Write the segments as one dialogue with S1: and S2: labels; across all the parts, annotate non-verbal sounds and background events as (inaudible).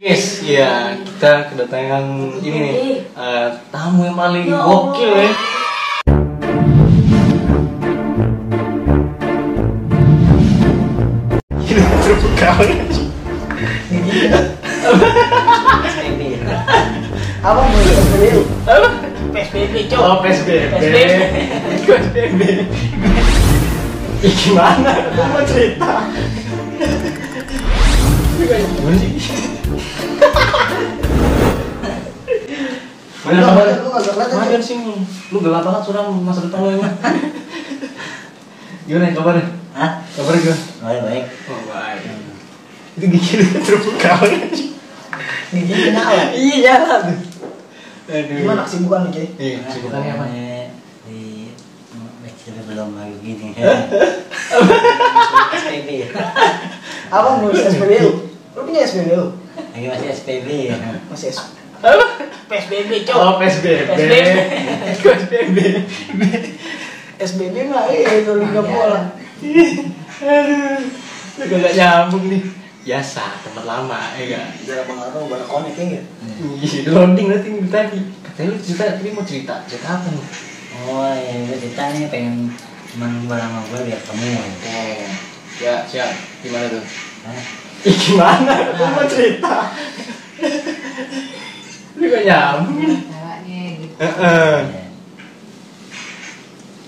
S1: Yes, ya kita kedatangan ini nih eh, tamu yang paling gokil ya. Gila terbekal.
S2: apa mau ya?
S3: PSBB
S1: Oh
S3: cok
S1: PSBB.
S3: PSBB.
S1: PSBB. Ih, Gimana? Gua mau cerita. Gimana sih? Mana kabar?
S2: Lu nggak kelihatan,
S1: Mager sih lu. Lu gelap banget suram masa depan lu emang. Gimana ya, kabarnya?
S2: Hah?
S1: Kabarnya gimana?
S2: Baik baik.
S1: Oh, baik. Itu gigi lu terbuka.
S2: Gigi kenapa?
S1: Iya, jalan. Aduh.
S2: Gimana kesibukan nih?
S1: Iya, kesibukannya apa?
S2: Di kecil belum lagi gini. (laughs)
S3: PSBB
S2: Apa mau ya? SPBU? Lu punya SPBU?
S4: Lagi masih SPB ya.
S2: Masih S.
S3: PSBB cok
S1: Oh, PSBB.
S3: PSBB.
S1: PSBB.
S2: SBB mah eh itu liga bola.
S1: Aduh. Lu kagak nyambung nih. Biasa, tempat lama, ya enggak?
S2: Jalan pengaruh baru konek ya.
S1: Iya, loading nanti nih tadi. Katanya lu cerita, ini mau cerita. Cerita apa nih?
S4: Oh ya gue cerita nih pengen teman gue sama gue biar kamu ya.
S1: Oh, ya, siap. Gimana tuh?
S4: Hah?
S1: Ih, gimana? Lu mau cerita? Lu kagak nyambung nih.
S5: Caranya gitu.
S1: Heeh.
S2: Iya.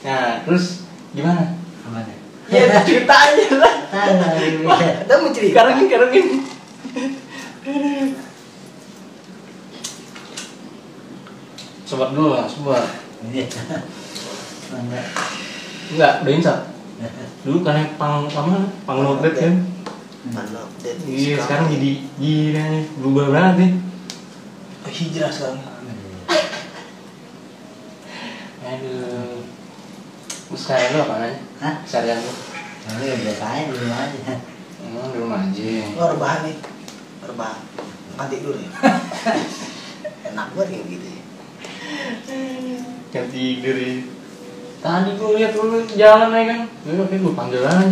S4: Ya.
S1: Nah, terus gimana?
S4: Apa nih?
S1: Ya cerita aja lah.
S4: Tahu ya.
S2: Ada mau cerita?
S1: Karungin, karungin. Sobat dulu lah, sobat.
S4: Enggak.
S1: Enggak, udah insap. Dulu kan yang pang sama pang notret kan.
S2: Mana update?
S1: Iya, sekarang jadi gila nih, berubah banget nih.
S2: Oh, hijrah sekarang.
S1: Aduh. Terus sekarang lu apa nanya?
S4: Hah?
S1: Seharian lu?
S4: Tapi ya biasa aja di rumah aja.
S1: Emang di rumah aja.
S2: Lu rebahan nih. Rebahan. Makan tidur (laughs) ya. Enak banget kayak gitu ya.
S1: Ganti diri. Tadi gua lihat lu jalan aja kan. Lu kayak gua panggil aja.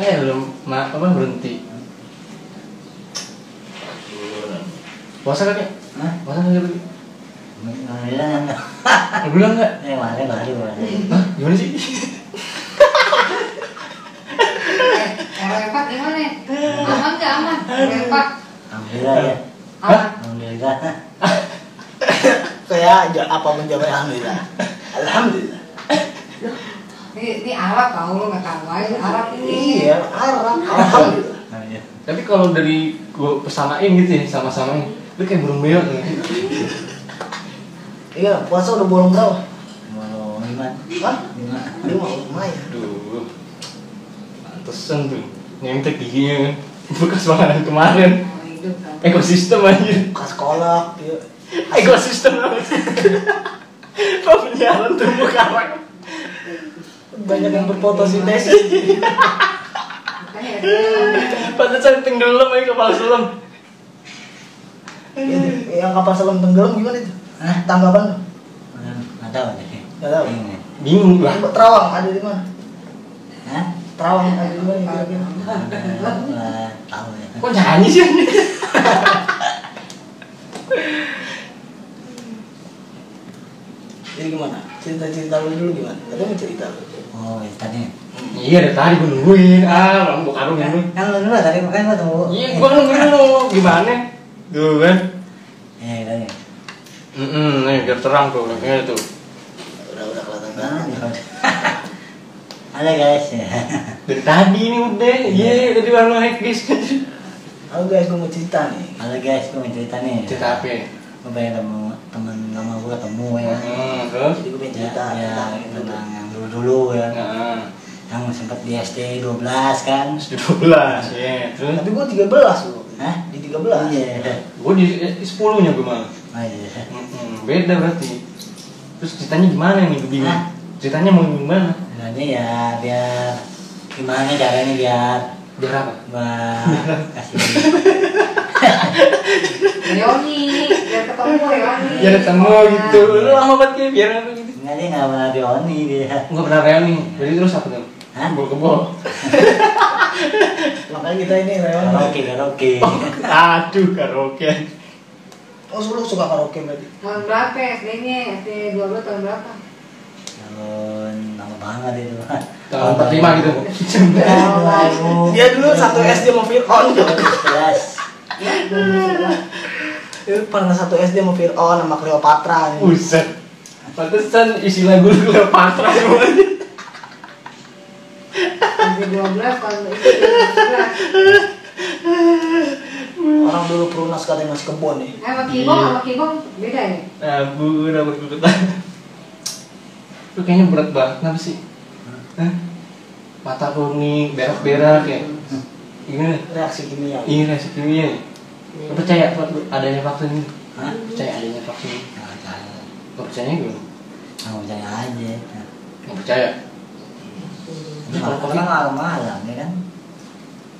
S1: Eh, belum ma- apa berhenti. Puasa kagak?
S4: Hah? Iya.
S1: Puasa kagak? Bi?
S4: Alhamdulillah enggak.
S1: Lu bilang enggak?
S4: Eh mari mari mari.
S1: Hah? Gimana sih?
S5: Repat Eh, gimana? Aman gak aman? Repat
S4: Alhamdulillah ya.
S5: aman.
S4: Alhamdulillah.
S2: Kayak aja apa menjawab alhamdulillah. Alhamdulillah.
S5: Ini, ini Arab tau lu gak tau aja Arab ini.
S2: Iya, arah. Alhamdulillah.
S4: Alhamdulillah.
S1: Tapi kalau dari gua persamain gitu ya, sama-samain. Lu kayak burung ya. beo tuh.
S2: Iya, puasa udah bolong berapa?
S4: Mau lima.
S2: Hah?
S4: Lima.
S2: Lima, lumayan.
S1: Aduh. Pantesan tuh. Nyemtek giginya kan. Bekas makanan kemarin.
S5: Oh, hidup tau.
S1: Ekosistem anjir.
S2: Buka sekolah, iya.
S1: ekosistem apa sih? Pemeliharaan terumbu karang.
S2: banyak yang berfotosintesis.
S5: Makanya ada-
S1: Pantesan tenggelam aja kapal selam.
S2: Ini, yang kapal selam tenggelam gimana itu?
S4: Hah?
S2: Tanggapan?
S4: Enggak tahu deh.
S2: Nggak tahu.
S4: Bingung ya.
S1: Bingung
S2: lu?
S1: lah.
S2: Yang Terawang ada di mana?
S4: Hah?
S2: Terawang ada di mana? kira-kira?
S4: Nggak- nggak Tahu ya.
S1: Kok nyanyi sih?
S2: Jadi gimana? Cerita-cerita lu dulu gimana? Tadi mau cerita lu.
S4: Oh, ya, tadi.
S1: Iya dari tadi gue nungguin. Ah, orang buka karung nungguin.
S4: Kan lu dulu tadi makanya gua tunggu.
S1: Iya, gue nungguin lo. Gimana? Tuh kan.
S4: Eh, tadi.
S1: Mm nih biar terang tuh, kayaknya tuh.
S2: Udah udah kelihatan
S4: Nah,
S2: kan?
S4: Halo guys.
S1: Dari tadi ini udah, iya tadi baru hektis.
S2: Halo guys, gue mau cerita nih.
S4: Halo guys, gue mau cerita nih.
S1: Cerita apa? ya?
S4: Gue pengen ketemu temen lama gue ketemu ya.
S1: Hmm, terus?
S2: Jadi gue pengen
S4: Ya,
S2: cerita
S4: ya,
S2: tentang itu.
S4: tentang yang dulu dulu ya.
S1: Nah,
S4: Yang sempet di SD 12 kan.
S1: terus di 12, iya. Terus?
S2: Tapi gue 13 loh.
S4: Hah?
S2: Di 13?
S4: Iya.
S1: Gue di, di 10 nya gue malah.
S4: Oh, iya.
S1: Mm-mm, Hmm, beda berarti terus ceritanya gimana nih gue bingung
S4: Hah?
S1: ceritanya mau gimana
S4: Sebenarnya ya biar gimana caranya biar
S1: biar apa
S4: gua kasih
S5: Yoni, biar ketemu Yoni.
S1: biar ketemu gitu lu lama banget kayak biar apa gitu
S4: Enggak dia nggak pernah dioni dia.
S1: nggak pernah reuni jadi terus apa tuh
S4: Hah?
S1: kebol kebol
S2: makanya kita ini memang
S4: karaoke karaoke
S1: Aduh karaoke.
S2: oh lu suka karaoke berarti
S5: Tahun berapa ya SD-nya? SD 12 tahun berapa?
S4: tahun lama banget itu
S1: Tahun pertama gitu.
S2: Iya,
S3: Dia dulu satu SD mau Fir'aun tuh.
S4: kelas
S3: Dia pernah satu SD mau Fir'aun sama Cleopatra nih.
S1: (laughs) Buset. Pantesan isi lagu lu Cleopatra semuanya.
S5: SD 12 tahun SD 12.
S2: orang dulu perunas katanya masih kebon nih
S5: Nah, sama Kibong, sama Kibong beda ya?
S1: Nah, Abu rambut gue Lu kayaknya berat banget kenapa sih? Hah? Mata kuning, berak-berak ya. Gimana?
S2: reaksi kimia
S1: Ini reaksi kimia. ya? Lu percaya Pak, adanya vaksin ini?
S4: Hah?
S1: Percaya adanya vaksin ini?
S4: nggak tahu
S1: Gak percaya gue.
S4: nggak percaya aja
S1: Gak percaya.
S4: ini kalau kau bilang malam-malam ya kan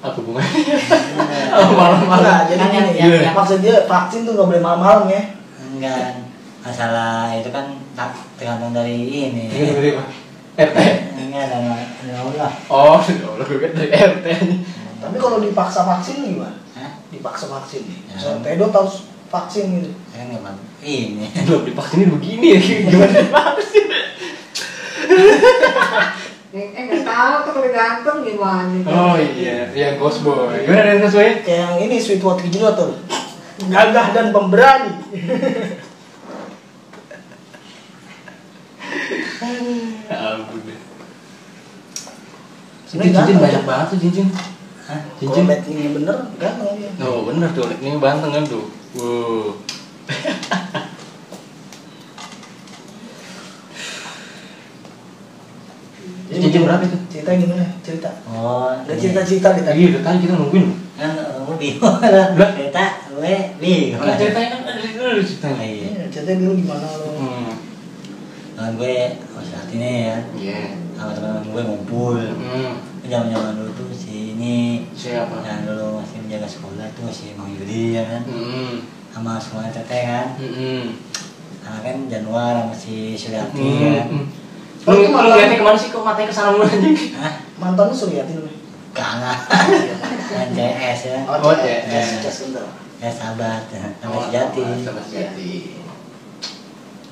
S4: Iya.
S1: Apa hubungannya? (laughs) Oh, malam-malam.
S2: Enggak, jadi gini,
S1: Iya.
S2: ya, maksud dia vaksin tuh nggak boleh malam-malam ya
S4: enggak masalah itu kan tak tergantung dari ini
S1: Ini dari Pak. RT.
S4: enggak ada ada Allah
S1: Oh, (laughs) ya Allah gue kira dari RT.
S2: tapi kalau dipaksa vaksin gimana
S4: Hah?
S2: dipaksa vaksin nih
S4: Ya.
S2: misalnya pedo harus vaksin gitu
S4: Saya kan nggak mau- ini
S1: Belum divaksin begini ya. Gimana divaksin?
S5: Eh, eh, nggak tahu tuh kalau ganteng gimana?
S1: Oh iya, ya Ghost Boy. Gimana dengan sesuai?
S2: kayak yang ini sweet water gejrot tuh gagah dan pemberani
S1: Ya ampun deh.
S2: Ini
S1: cincin
S2: ganteng.
S1: banyak banget tuh cincin.
S4: Hah?
S2: kalau
S1: Cincin.
S2: matchingnya bener ganteng dia
S1: Oh bener tuh, ini banteng kan tuh. Wow. Ini cincin berapa itu? Iya.
S2: cerita gimana cerita
S4: oh
S2: ada
S4: ini.
S2: cerita-cerita kita
S1: Lagi udah tadi kita nungguin. loh.
S4: kan kamu bingung lah
S1: Lah?
S4: cerita gue bingung
S1: Nah, ceritanya kan ada dulu ada ceritanya.
S4: iya
S2: Iya, ceritanya dulu gimana lo
S1: Hmm.
S4: Temen gue harus nih ya
S1: Iya.
S4: sama teman-teman gue ngumpul
S1: Hmm.
S4: zaman zaman dulu tuh si ini
S1: Siapa?
S4: yang dulu masih menjaga sekolah tuh si Mang Yudi ya kan
S1: Hmm.
S4: sama semua teteh kan
S1: Hmm.
S4: sama kan Januar sama si Suriati ya kan
S1: Hmm. Iya. Lu
S2: Oh, itu
S1: lu
S2: malah-
S1: liatnya kemana sih kok matanya kesana mulu anjing?
S4: Hah?
S2: mantannya Suryati namanya
S4: kangen kan CS ya
S1: Oh, CS.
S2: CS, CS bentar
S4: ya sahabat ya. sama si Jati
S1: Sama si Jati.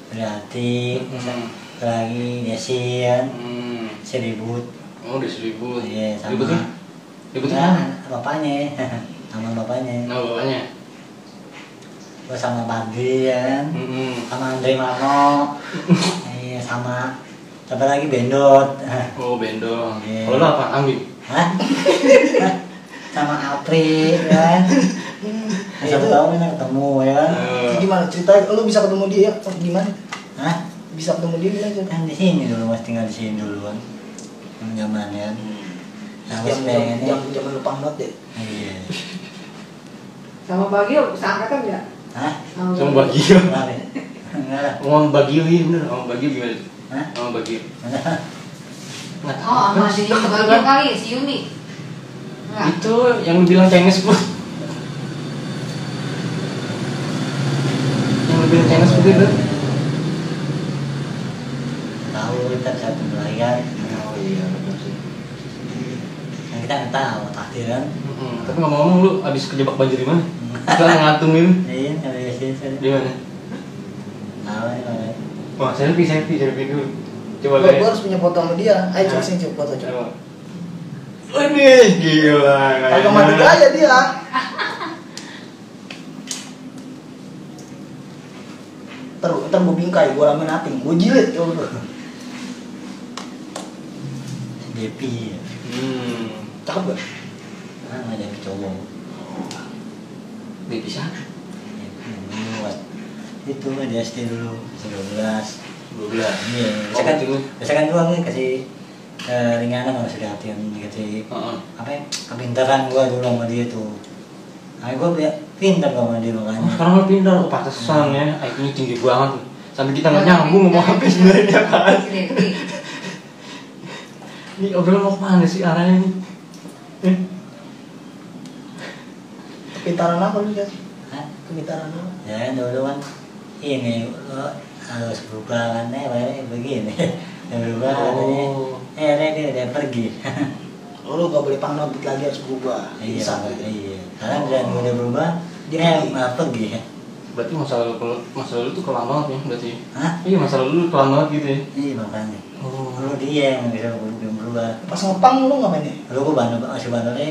S4: Suriati
S1: Hmm.
S4: satu lagi Desi ya kan
S1: Hmm.
S4: si Ribut
S1: Oh, udah seribu.
S4: Iya, sama.
S1: Ributnya? Ributnya
S4: Ya,
S1: mana?
S4: bapaknya (laughs) sama bapaknya
S1: Nah, bawahnya.
S4: gue sama Badri ya kan
S1: Mm-mm.
S4: sama Andre Mano iya sama siapa lagi Bendot (laughs)
S1: Oh, bendong.
S4: Iya.
S1: Kalau lu apa? Kambing.
S4: Hah? (laughs) sama Apri
S2: (laughs)
S4: ya kan Nah, siapa
S2: Itu-
S4: tahu kita ketemu ya kan?
S1: Eh,
S2: gimana cerita lu bisa ketemu dia ya Oh, gimana
S4: Hah?
S2: bisa ketemu dia bilang cerita
S4: kan di sini dulu mas tinggal di sini dulu kan Yang zaman ya kan nah gue
S2: Hmm. jam
S4: sih
S2: jam
S4: pengennya
S2: jam jam lu pangdot deh
S4: iya
S5: Sama Bagio, seangkatan nggak?
S4: Hah?
S5: Sama
S1: sama Bagio.
S4: Enggak deh. Enggak lah
S1: Ngomong Bagio iya bener. Ngomong Bagio gimana?
S4: Hah?
S1: Ngomong Bagio. Nggak tahu.
S5: Oh, sama si Bagio kali, si Yuni. Enggak.
S1: Itu yang lu bilang Chinese food. yang lu bilang Chinese food itu.
S4: tahu kita bisa ketemu lagi kan
S1: Oh iya, betul sih.
S4: Nah, kita nggak tahu takdir kan
S1: Tapi ngomong-ngomong lu abis kejebak banjir di mana? Kita ngantungin
S4: iya nggak ada sih sih
S1: di mana?
S4: tahu ya kalau
S1: Wah, selfie, selfie, selfie dulu. Coba
S2: Gua
S1: lihat.
S2: gua harus punya foto sama dia ayo
S4: Nah.
S2: coba
S1: Hah?
S2: sini coba foto
S1: Nah,
S2: coba
S1: Ini gila
S2: kagak mandi aja dia ter ter gua bingkai gua ramen ating gua jilid coba bro.
S4: Depi ya
S1: Hmm.
S2: cakep gak
S4: kan nggak jadi cowok
S1: Dia bisa.
S4: Depi dulu Mas. itu di SD dulu dua belas
S1: 12.
S4: iya
S1: Oh,
S4: biasa kan
S1: gitu.
S4: biasa kan gua nih kasih eh, ringanan sama si Datin kasih
S1: Heeh.
S4: apa ya kepintaran gua dulu sama dia tuh akhirnya gua bi- pintar gua sama dia
S1: Oh,
S4: makanya
S1: sekarang lo pindah oh, pantesan ya. IQ-nya tinggi banget. Sampai kita
S5: Iya,
S1: nggak nyambung ngomong apa sebenarnya kan.
S5: Si Devi.
S1: Ini obrolan mau kemana sih arahnya ini? Eh,
S2: kepintaran apa lu dia
S4: Hah?
S2: kepintaran apa
S4: ya kan dulu kan ini lo harus berubah kan (laughs) eh akhirnya begini berubah katanya
S1: Oh.
S4: eh akhirnya dia udah pergi
S2: Oh, lu gak boleh pangno beat lagi harus berubah
S4: (laughs) Iya,
S2: bisa gitu.
S4: iya. Karena dan udah berubah, dia nggak pergi ya.
S1: Berarti masa lalu masa lalu tuh kelam banget ya berarti.
S4: Hah?
S1: Iya masa lalu lu kelam banget gitu ya.
S4: Iya makanya.
S1: Oh.
S4: Lu dia yang bisa belum berubah.
S2: pas ngepang lu nggak mainnya
S4: Lu gua bandel masih bandelnya,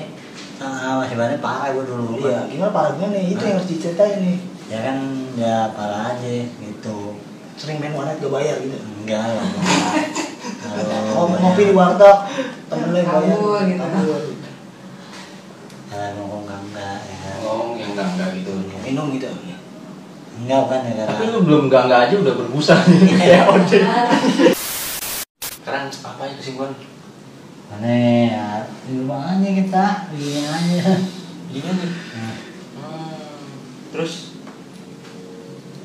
S4: ah, masih bandel parah gua dulu.
S2: iya gimana parahnya nih itu yang harus diceritain nih
S4: Ya kan, ya parah aja gitu.
S2: sering main warnet gak bayar gitu
S4: Enggak lah.
S2: Oh,
S4: Oh,
S2: mau
S4: iya.
S2: ngopi di warteg temen lu yang bayar
S5: Kabur gitu.
S2: Kabur.
S4: Kalau ngomong enggak Ah, enggak ya kan.
S1: Oh, yang enggak enggak gitu.
S2: minum gitu
S4: Enggak bukan ya
S1: Tapi
S4: karena
S1: lu belum enggak enggak aja udah berbusa nih (laughs) Ya, kayak ojek. Sekarang apa ya kesimpulan?
S4: mana ya di rumah aja kita, di aja.
S1: Gimana?
S4: Nah,
S1: Hmm, terus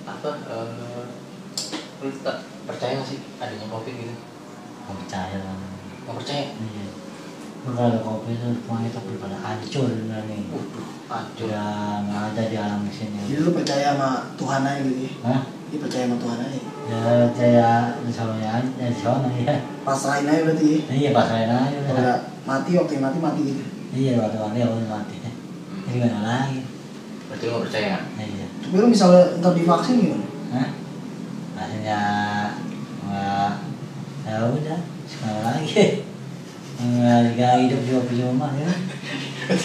S1: apa? eh, lu tak percaya nggak sih adanya covid gitu?
S4: gua percaya lah.
S1: Nggak percaya?
S4: Iya. Gua Kalau kopi itu rumah itu udah pada hancur udah nih.
S1: Waduh, anjir.
S4: Udah nggak ada di alam
S2: jadi
S4: sini.
S2: lu percaya sama Tuhan aja gitu
S4: Hah?
S2: dia percaya sama Tuhan aja
S4: Ya saya di sana ya, di sana ya.
S2: pasrahin aja berarti ya
S4: Iya pasarin aja
S2: kalau
S4: udah.
S2: nggak mati waktu yang mati mati gitu
S4: Iya waktu waktu aku mati. Ini gimana lagi?
S1: Berarti lu nggak percaya?
S4: Iya.
S2: tapi lu misalnya ntar divaksin gimana
S4: Hah? Akhirnya nggak ya udah sekarang lagi nggak nggak hidup juga percuma ya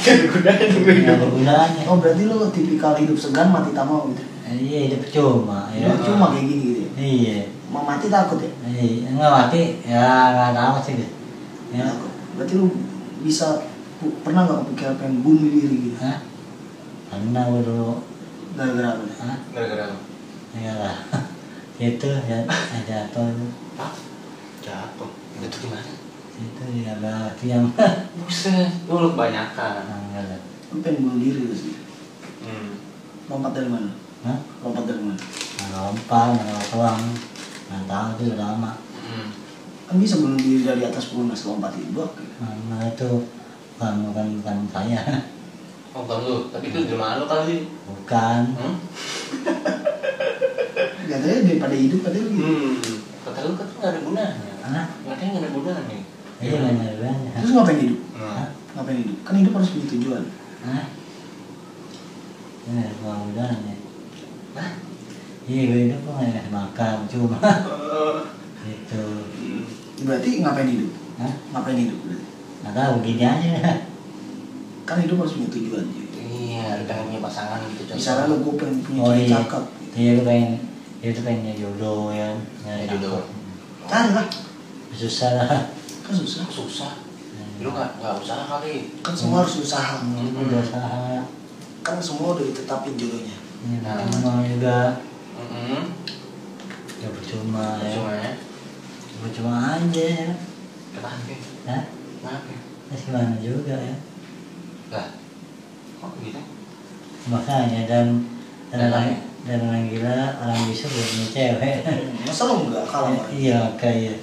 S4: nggak bergunanya
S2: oh berarti lu tipikal hidup segan mati tamam gitu
S4: iya hidup percuma ya
S2: lu cuma kayak gini gitu ya
S4: iya
S2: mau mati takut ya
S4: iya nggak mati ya nggak tahu sih deh ya
S2: Takut. berarti lu bisa pu- pernah nggak kepikiran pengen bunuh diri gitu
S4: Hah? karena gua dulu
S2: gara-gara apa
S4: Hah?
S1: Gara-gara apa?
S4: ya lah itu ya ada apa
S1: Jatuh. Jatuh gimana?
S4: itu ya nggak diam
S1: Buset, lu lu kebanyakan.
S4: nggak lah
S2: lu pengen bunuh diri terus gitu.
S1: Hmm.
S2: lompat dari mana
S4: Hah?
S2: lompat dari mana
S4: nggak lompat nggak uang nggak tahu itu udah lama
S1: Hmm.
S2: kan bisa bunuh diri dari atas pelunas lompat itu gitu.
S4: Nah, itu bukan bukan bukan saya, (laughs)
S1: Oh, bukan lu. Tapi itu di rumah lu kali.
S4: bukan.
S1: Hmm?
S2: katanya daripada hidup katanya lu gitu
S1: Hmm. Kata lu kata nggak ada gunanya.
S4: Hah?
S1: Katanya nggak ada gunanya.
S4: Iya benar benar.
S2: terus ngapain hidup
S1: Nah,
S2: ngapain hidup kan hidup harus punya tujuan
S4: Hah? Ini gua udah nih.
S1: Hah?
S4: Iya gue hidup kok nggak ngasih makan cuma (laughs) itu.
S2: berarti ngapain hidup
S4: Hah?
S2: ngapain hidup berarti
S4: Nggak tahu gini aja.
S2: kan hidup harus punya tujuan gitu.
S1: Iya, lu pengen punya pasangan gitu. contoh.
S2: misalnya lu gue pengen punya
S4: Oh
S2: cewek
S4: iya.
S2: cakep
S4: Iya gue pengen itu pengen jodoh ya. Nyari
S1: Nyari jodoh.
S2: cari Kan lah
S4: Susah lah.
S2: kan susah
S1: susah. Lu nggak nggak usaha kali.
S2: kan semua harus usaha
S4: Hmm, udah usaha.
S2: kan semua udah ditetapin jodohnya
S4: Ya,
S1: Nah.
S4: mau juga
S1: Hmm.
S4: ya percuma ya.
S1: Cuma ya.
S4: Percuma aja ya.
S1: Kenapa?
S4: Hah?
S1: Kenapa?
S4: Terus gimana juga ya.
S1: Lah. Kok gitu?
S4: makanya dan dan
S1: Dan
S4: orang
S1: lain.
S4: dan orang gila orang bisa buat punya cewek
S2: masa lu nggak kalah sama dia?
S4: Hmm. iya kayak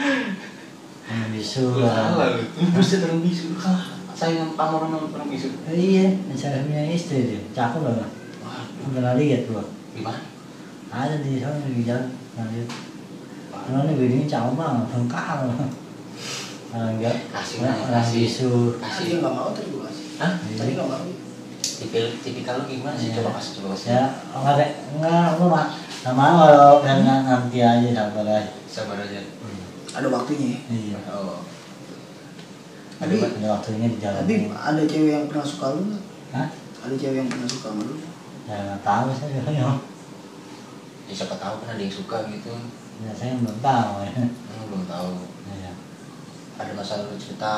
S4: orang bisu
S1: Lu
S4: orang-
S1: kalah lu. Lu buset orang bisu. Lu kalah. Saingan kamu orang orang bisu.
S4: Eh, iya misalnya punya istri dia cakep banget
S1: Wah,
S4: pernah lihat gua
S1: gimana?
S4: ada di sana di jalan lanjut karena ini ini cakep banget lengkap orang gila
S1: Kasih,
S4: orang-
S1: Nay,
S4: orang
S1: kasih.
S4: bisu
S2: Ah, dia
S1: Kasih.
S2: nggak mau tadi gue kasih
S1: Hah?
S2: tadi nggak mau
S1: Tipikal tipikal lu gimana sih?
S4: Iya.
S1: Coba kasih coba kasih.
S4: ya enggak deh enggak lu mah sama kalau dan nanti aja sabar aja
S1: Sabar aja.
S2: ada waktunya ya
S4: iya
S1: Oh.
S2: tapi
S4: ada waktunya di jalan
S2: tapi ada cewek yang pernah suka lu nggak?
S4: Hah?
S2: ada cewek yang pernah suka sama lu
S4: Ya nggak tahu saya ya.
S1: Ya siapa tahu kan ada yang suka gitu.
S4: Ya saya belum tahu ya.
S1: Lu belum tahu.
S4: Ya,
S1: ada masa lalu cerita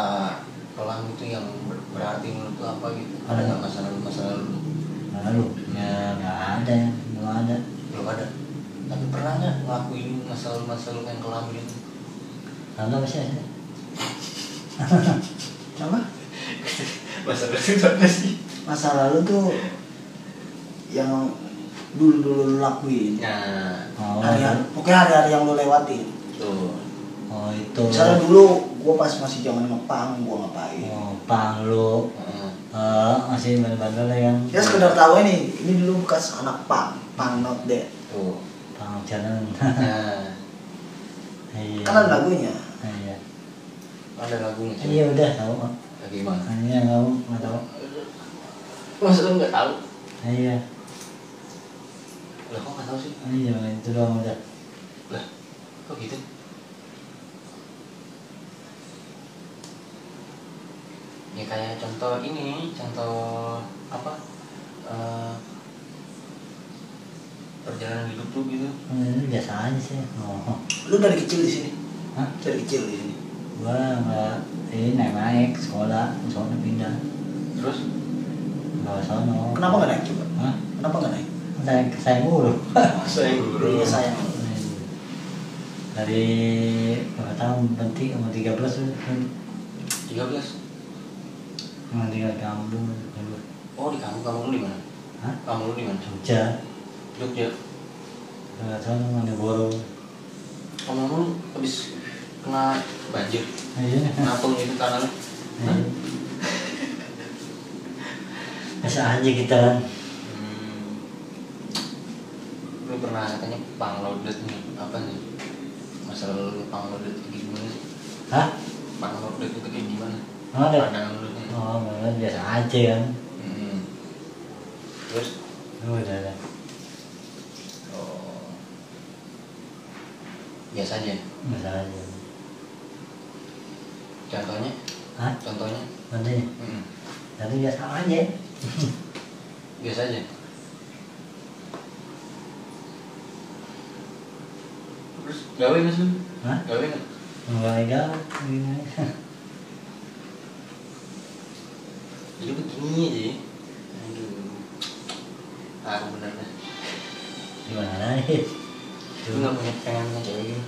S1: kelam itu yang ber- berarti menurut lu apa gitu ada nggak masa lalu masa lalu
S4: Lalu ya nggak ada ya, belum ada.
S1: belum ada tapi pernah nggak ngelakuin masa lalu masa lalu yang kelam gitu
S4: Lalu apa sih? ya?
S2: apa
S1: masa lalu itu apa sih
S2: masa lalu tuh yang dulu dulu lu lakuin
S1: nah
S4: Oh,
S2: hari pokoknya hari-hari yang lu lewatin
S1: tuh
S4: oh itu.
S2: misalnya dulu gue pas masih zaman ngepang gue ngapain
S4: Oh, pang lu
S1: Heeh.
S4: eh, masih bandel-bandel ya kan?
S2: ya sekedar tahu ini ini dulu bekas anak pang pang not dead
S1: tuh
S4: (laughs) Pang jalan.
S1: nah
S4: Iya. à,
S2: kan ada lagunya
S4: Iya.
S1: ada lagunya cuy.
S4: iya udah tahu kok
S1: Lagi gimana?
S4: makanya tahu nggak tahu
S1: Masa lu nggak tahu?
S4: Nah, iya
S1: Lah kok nggak tahu sih?
S4: Ah, iya itu doang udah
S1: Lah kok gitu? Ya kayak contoh ini, contoh apa? eh, perjalanan hidup lu gitu.
S4: Hmm, itu biasa aja sih oh
S2: Lu dari kecil di sini?
S4: Hah?
S2: Dari kecil di sini.
S4: gua nggak ini naik naik sekolah sekolah pindah
S1: Terus
S4: nggak sono
S2: Kenapa nggak naik coba?
S4: Hah?
S2: Kenapa nggak naik?
S4: saya saya mulu
S1: saya
S2: Iya sayang.
S4: dari berapa tahun berhenti sama 13 tuh
S1: tiga belas.
S4: sama tinggal kampung dulu
S1: Oh di kamu kamu lu di mana?
S4: Hah?
S1: Kamu lu di mana?
S4: Jogja
S1: Jogja.
S4: nggak tahu Malioboro
S1: Kamu lu habis kena banjir,
S4: iya
S1: napung itu tanah lu.
S4: Iya. biasa aja kita kan
S1: Hmm. Lu pernah katanya panglodet nih, apa nih? Masalah lu panglodet itu gimana sih?
S4: hah
S1: Panglodet itu kayak gimana?
S4: nggak ada
S1: Pandangan lu nih.
S4: oh nggak ada, biasa aja kan
S1: Hmm. Terus
S4: Oh, udah udah
S1: oh. biasa aja.
S4: biasa aja
S1: Contohnya,
S4: hah
S1: contohnya.
S4: nanti
S1: Hmm.
S4: nanti biasa aja
S1: Biasa aja. Terus gawe nggak sih?
S4: hah
S1: Gawe nggak?
S4: mulai galau gini
S1: Jadi begini aja. ya. Aduh. Ah, bener dah.
S4: gimana nih
S1: Lu nggak punya pengennya cewek gitu?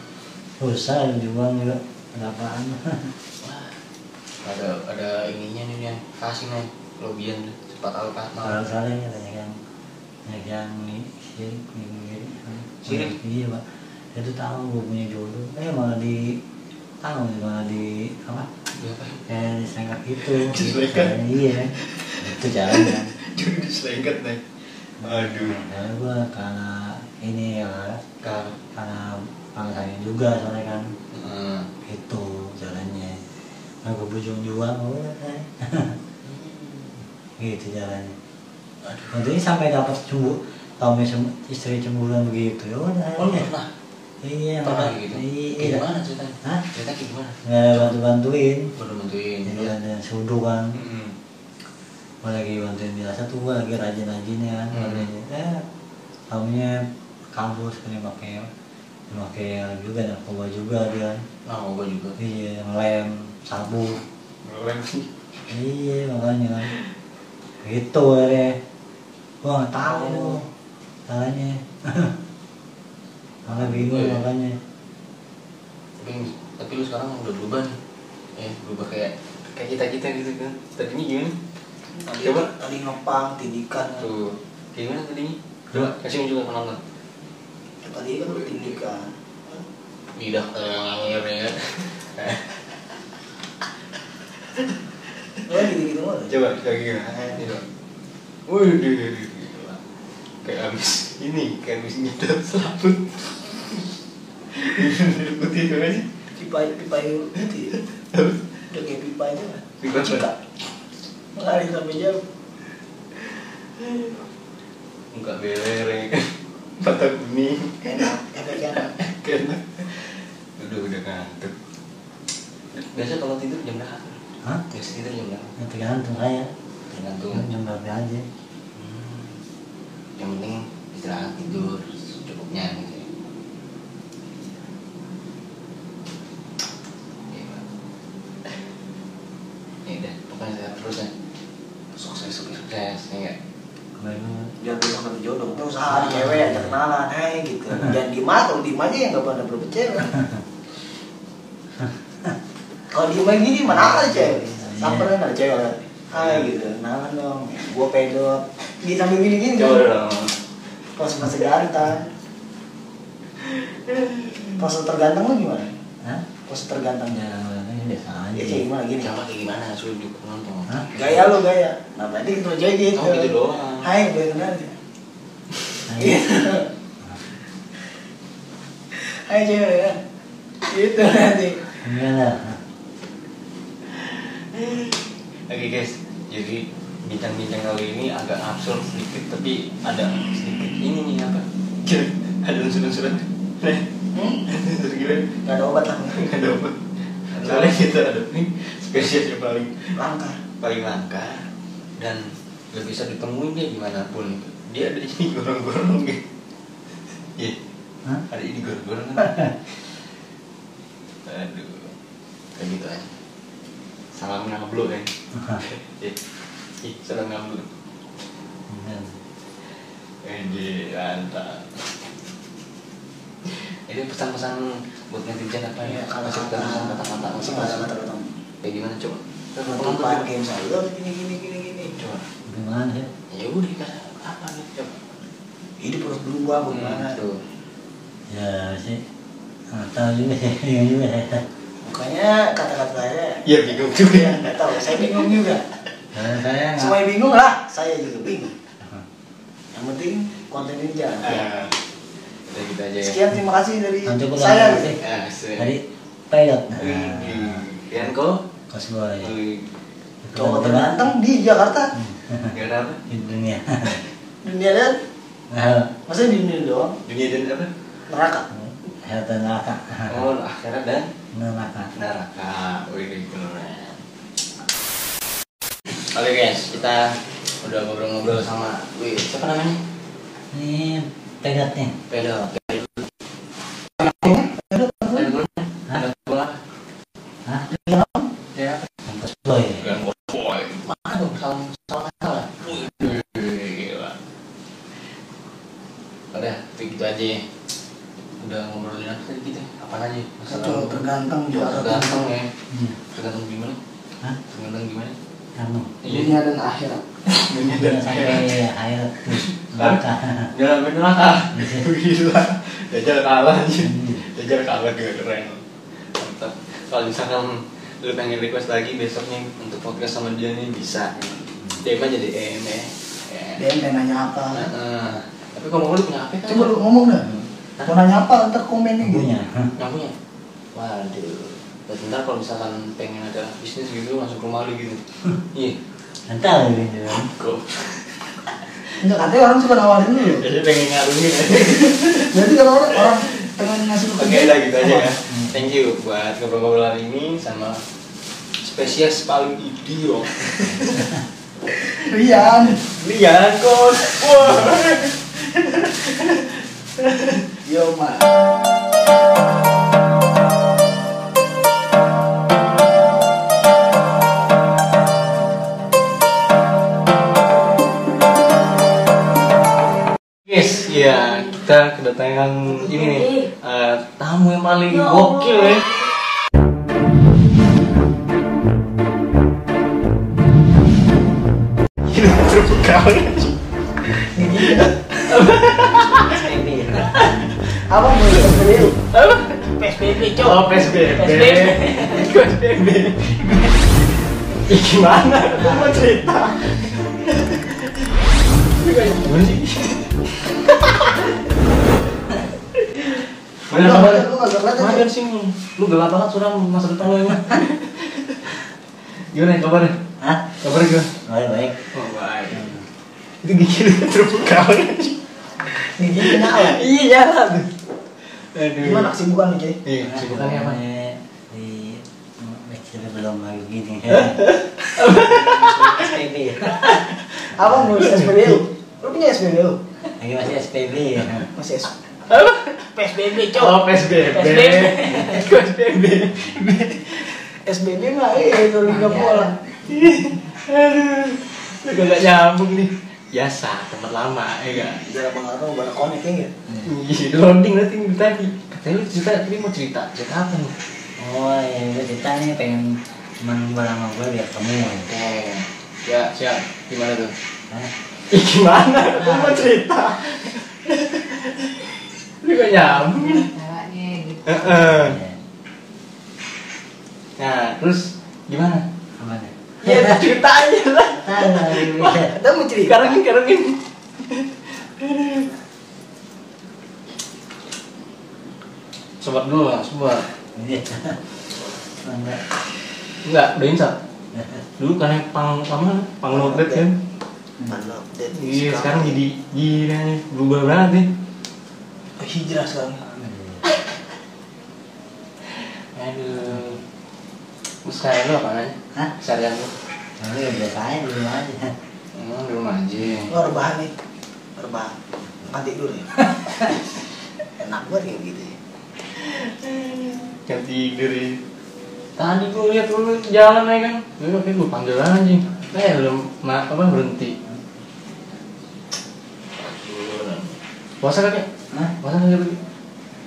S4: Pulsa juga juga ada apaan
S1: Wah, ada ada ininya nih yang kasih nih lobian tuh cepat tahu kan
S4: kalau saling katanya kan banyak yang nih sirik nih sirik
S1: Sirik?
S4: iya pak itu tahu gue punya jodoh eh malah di tahu malah di apa
S1: Siapa? (laughs)
S4: kayak disengat gitu
S1: Disengkat?
S4: iya itu jalan kan
S1: Jadi diselengkat nih. Aduh.
S4: karena gue karena ini ya
S1: Kar.
S4: karena pangsanya juga soalnya kan
S1: Heeh.
S4: itu jalannya nah gue bujung juang gue "Eh." (laughs) gitu jalannya Untungnya sampai dapat cembu Tommy cem- istri cemburuan begitu ya udah
S1: Oh, lu pernah?
S4: iya
S1: Pernah
S4: Mak.
S1: gitu? Kayak
S4: iya
S1: Gimana ceritanya?
S4: Hah?
S1: Cerita kayak gimana?
S4: nggak ada bantu bantuin
S1: Baru bantuin.
S4: jadi ada sudu kan
S1: Iya. Mm-mm.
S4: gue lagi bantuin biasa tuh gue lagi rajin rajinnya kan
S1: Hmm.
S4: rajin eh Tommynya kampus kan pakai pakai juga narkoba juga dia kan
S1: Nah, mau gua juga.
S4: iya ngelem sabu
S1: Ngeleng sih.
S4: iya makanya kan gitu akhirnya gua nggak tahu
S1: Oh.
S4: (laughs) caranya malah bingung
S1: Iya.
S4: makanya
S1: Tapi tapi lu sekarang udah berubah nih. Eh, berubah kayak kayak kita kita gitu kan. Tadinya gimana?
S2: Tadi
S1: Coba.
S2: tadi ngepang, tindikan.
S1: Tuh. Kayak gimana tadinya? Coba kasih juga penonton.
S2: Tadi kan lu tindikan.
S1: lidah ngangir ya kan
S2: Lu kan gitu-gitu mulu.
S1: (laughs) coba lagi gimana Eh, coba waduh gila. kayak abis ini kayak abis nyedot selaput putih itu aja
S2: Pipa pipa itu gitu. ya. Udah kayak pipa aja lah.
S1: Pipa apa?
S2: Cika. Lari sampai jauh.
S1: enggak beler ya kan (laughs) mata kuning (laughs)
S2: Enak, enak enak.
S1: kena udah udah ngantuk biasa kalau tidur jam berapa
S4: hah
S1: biasa tidur jam berapa
S4: ya tergantung saya
S1: tergantung
S4: nyembarnya aja
S1: Hmm. yang penting istirahat tidur cukupnya gitu ya. Iya, Pak. (laughs) ya udah pokoknya sehat terus ya sukses sukses sukses ya nggak?
S4: kemarin
S2: Jangan bilang sama jodoh. Terus ah ada cewek ada kenalan, eh gitu.
S1: (laughs)
S2: Jangan diem aja, kalau diem aja ya nggak pada berapa cewek. Kalau diem aja gini mana ada cewek.
S1: Iya,
S2: Sampai kan ada cewek. Ah gitu, kenalan dong. Gua pedot. Di sambil gini gini.
S1: coba dong
S2: Pas masih ganteng. Pas terganteng lu gimana?
S4: hah
S2: Pas tergantengnya.
S4: ya orangnya biasa
S2: Ya
S4: aja
S2: kayak gimana gini?
S1: coba kayak gimana suruh juga penonton
S4: Hah?
S1: ya?
S2: Gaya lu gaya. Nah berarti itu aja gitu.
S1: Oh, gitu doang.
S2: Hai, boleh kenal ya?
S4: Nah,
S2: Iya. Hai cewek ya. Gitu nanti.
S4: enggak lah
S1: Oke guys, jadi bincang-bincang kali ini agak absurd sedikit tapi ada sedikit ini nih apa? (laughs) Gila, ada unsur-unsur (laughs) aneh. unsur gila,
S2: Hmm? nggak ada obat lah
S1: nggak ada apa. Soalnya kita ada nih spesies yang paling
S2: langka
S1: paling langka dan nggak bisa ditemuin dia dimanapun. Dia ada di gorong-gorong gitu. Iya,
S4: Hah?
S1: ada di gorong-gorong. kan? Aduh, kayak gitu aja. Salam ngablu kan. Ih, ih, seneng ngambek. Ini mantap. Ini pesan-pesan buat netizen apa
S2: Iya,
S1: ya? Kalau
S2: kata-kata.
S1: pesan kata-kata masih
S2: Kata-kata, kata-kata.
S1: Kayak gimana coba?
S2: penutupan game saya Lo gini gini gini gini
S1: Coba.
S4: Gimana ya?
S1: Ya udah kata apa nih coba?
S2: hidup harus berubah bagaimana
S1: Hmm, tuh.
S4: Ya sih. Nggak tahu juga ya, (laughs) bingung juga ya.
S2: makanya kata-kata saya
S1: Ya bingung juga Iya.
S2: ya nggak tahu saya bingung juga
S4: Kalau saya nggak-
S2: semua bingung lah saya juga bingung yang penting konten ini jalan
S1: Ah, Udah gitu aja ya.
S2: sekian terima kasih dari
S4: Nanti aku
S2: saya
S4: kasih.
S1: Ah, Nah. sih.
S4: Tadi pilot.
S1: Ừ, Widih.
S4: À,
S1: Yanko,
S4: Kos boy.
S1: wih,
S2: cowok terganteng di Jakarta
S1: Hmm. nggak ada apa?
S4: Di dunia.
S2: dunia dan
S4: (laughs) Hal
S2: maksudnya di dunia doang
S1: Dunia dan apa?
S2: neraka
S4: hal neraka.
S1: Oh, akhirat dan
S4: Neraka.
S1: neraka wih keren oke guys kita udah ngobrol-ngobrol sama wih siapa namanya
S4: Ini pegat nih.
S1: pedo
S4: Hah? Hah?
S1: Ya.
S4: Kos boy.
S1: yang boy mana dong salam salam salah gila udah gitu aja ya udah ngobrolin apa tadi kita apa aja
S2: cowok terganteng di Jakarta
S1: tergantung ya
S4: Iya.
S1: tergantung gimana
S4: Hah?
S1: tergantung gimana Iya.
S4: Kamu.
S2: Iya,
S3: dunia dan akhirat
S1: dunia
S4: Udah sampai air terus neraka.
S1: Jalan bener lah Gila Dajjal kalah anjir Dajjal kalah gue keren Mantap Kalau misalkan lu pengen request lagi besoknya untuk podcast sama dia nih bisa DM aja DM ya Ya.
S2: dia yang nanya apa
S1: Nah, eh. Tapi kalau mau lu punya apa kan?
S2: coba lu ngomong dah mau nanya apa ntar komen nih
S4: Punya.
S1: Nggak punya Waduh Dan ntar kalau misalkan pengen ada bisnis gitu langsung ke rumah lu (laughs) gitu Iya
S4: Entar gitu.
S1: Kok
S2: enggak katanya orang suka nawarin lu
S1: Jadi pengen ngarungin
S2: berarti kalau orang orang pengen ngasih lu
S1: (laughs) Oke
S2: kerja,
S1: udah gitu aja
S2: apa?
S1: ya. Thank you buat ngobrol-ngobrol hari ini sama spesies paling idiot.
S2: Rian
S1: Lian kos. Wah.
S2: yo man
S1: Yes, ya kita kedatangan ini nih eh, tamu yang paling gokil ya. Gila, terbuka banget.
S2: apa mau kerja lu
S1: Oh, PSBB. PSBB. Ih, Gimana? Lu mau cerita? Gimana sih? Mana
S2: Lu-
S1: kabar?
S2: lu kagak kelihatan,
S1: Mana dari sini? Lu gelap banget suram masa depan lu emang. Gimana ya kabarnya?
S4: Hah?
S1: Kabarnya gimana?
S4: Baik baik.
S1: Oh, baik. Itu gigi lu terbuka banget.
S2: gigi kenal
S1: Iya, jalan. Aduh.
S2: gimana kesibukan lu Jay
S1: Iya, sibukannya apa?
S4: Eh, Di Meksiko belum lagi gini. SPB.
S2: apa mau SPB lu lu punya SPB lu
S4: Lagi masih SPB.
S2: masih SPB
S3: PSBB
S1: Oh, PSBB.
S3: PSBB.
S1: PSBB.
S2: SBB mah eh itu liga bola.
S1: Aduh. Lu gak nyambung nih. Biasa, tempat lama, ya enggak?
S2: Jalan pengaruh baru konek ya.
S1: Iya, loading nanti dari tadi. Katanya lu cerita, tapi mau cerita. Cerita apa nih?
S4: Oh, ya gue cerita nih pengen teman gue sama gue biar kamu.
S1: Oh, ya siap. Gimana tuh?
S4: Hah?
S1: Ih, gimana? Lu mau cerita? Lu gak nyambung nih.
S5: Caranya gitu.
S1: Heeh.
S4: Ya,
S1: Nah, terus gimana?
S4: Apa nih?
S1: Ya cerita aja lah.
S4: Tahu lah,
S1: Iya.
S4: gue.
S2: Kita mau cerita.
S1: Karungin, karungin. Sobat dulu lah, sobat.
S4: Iya. Enggak.
S1: Enggak, udah insap. Dulu kan yang pang apa? Pang loaded kan.
S2: Unlock that
S1: Iya, sekarang jadi gila nih, berubah banget nih.
S2: hijrah sekarang
S1: Aduh. Terus kayak lu apa nih?
S4: Hah?
S1: Seharian lu?
S4: Tapi ya biasa aja di rumah aja.
S1: Hmm, di rumah aja.
S2: Oh, rebahan nih rebahan makan tidur ya enak banget kayak gitu ya
S1: Jam tidur ya. Tadi gua lihat lu jalan ya kan. Yaudah, oke gua panggil aja. Eh, lu ma- apa berhenti. Puasa kagak?
S4: Hah?
S1: Puasa kagak lu?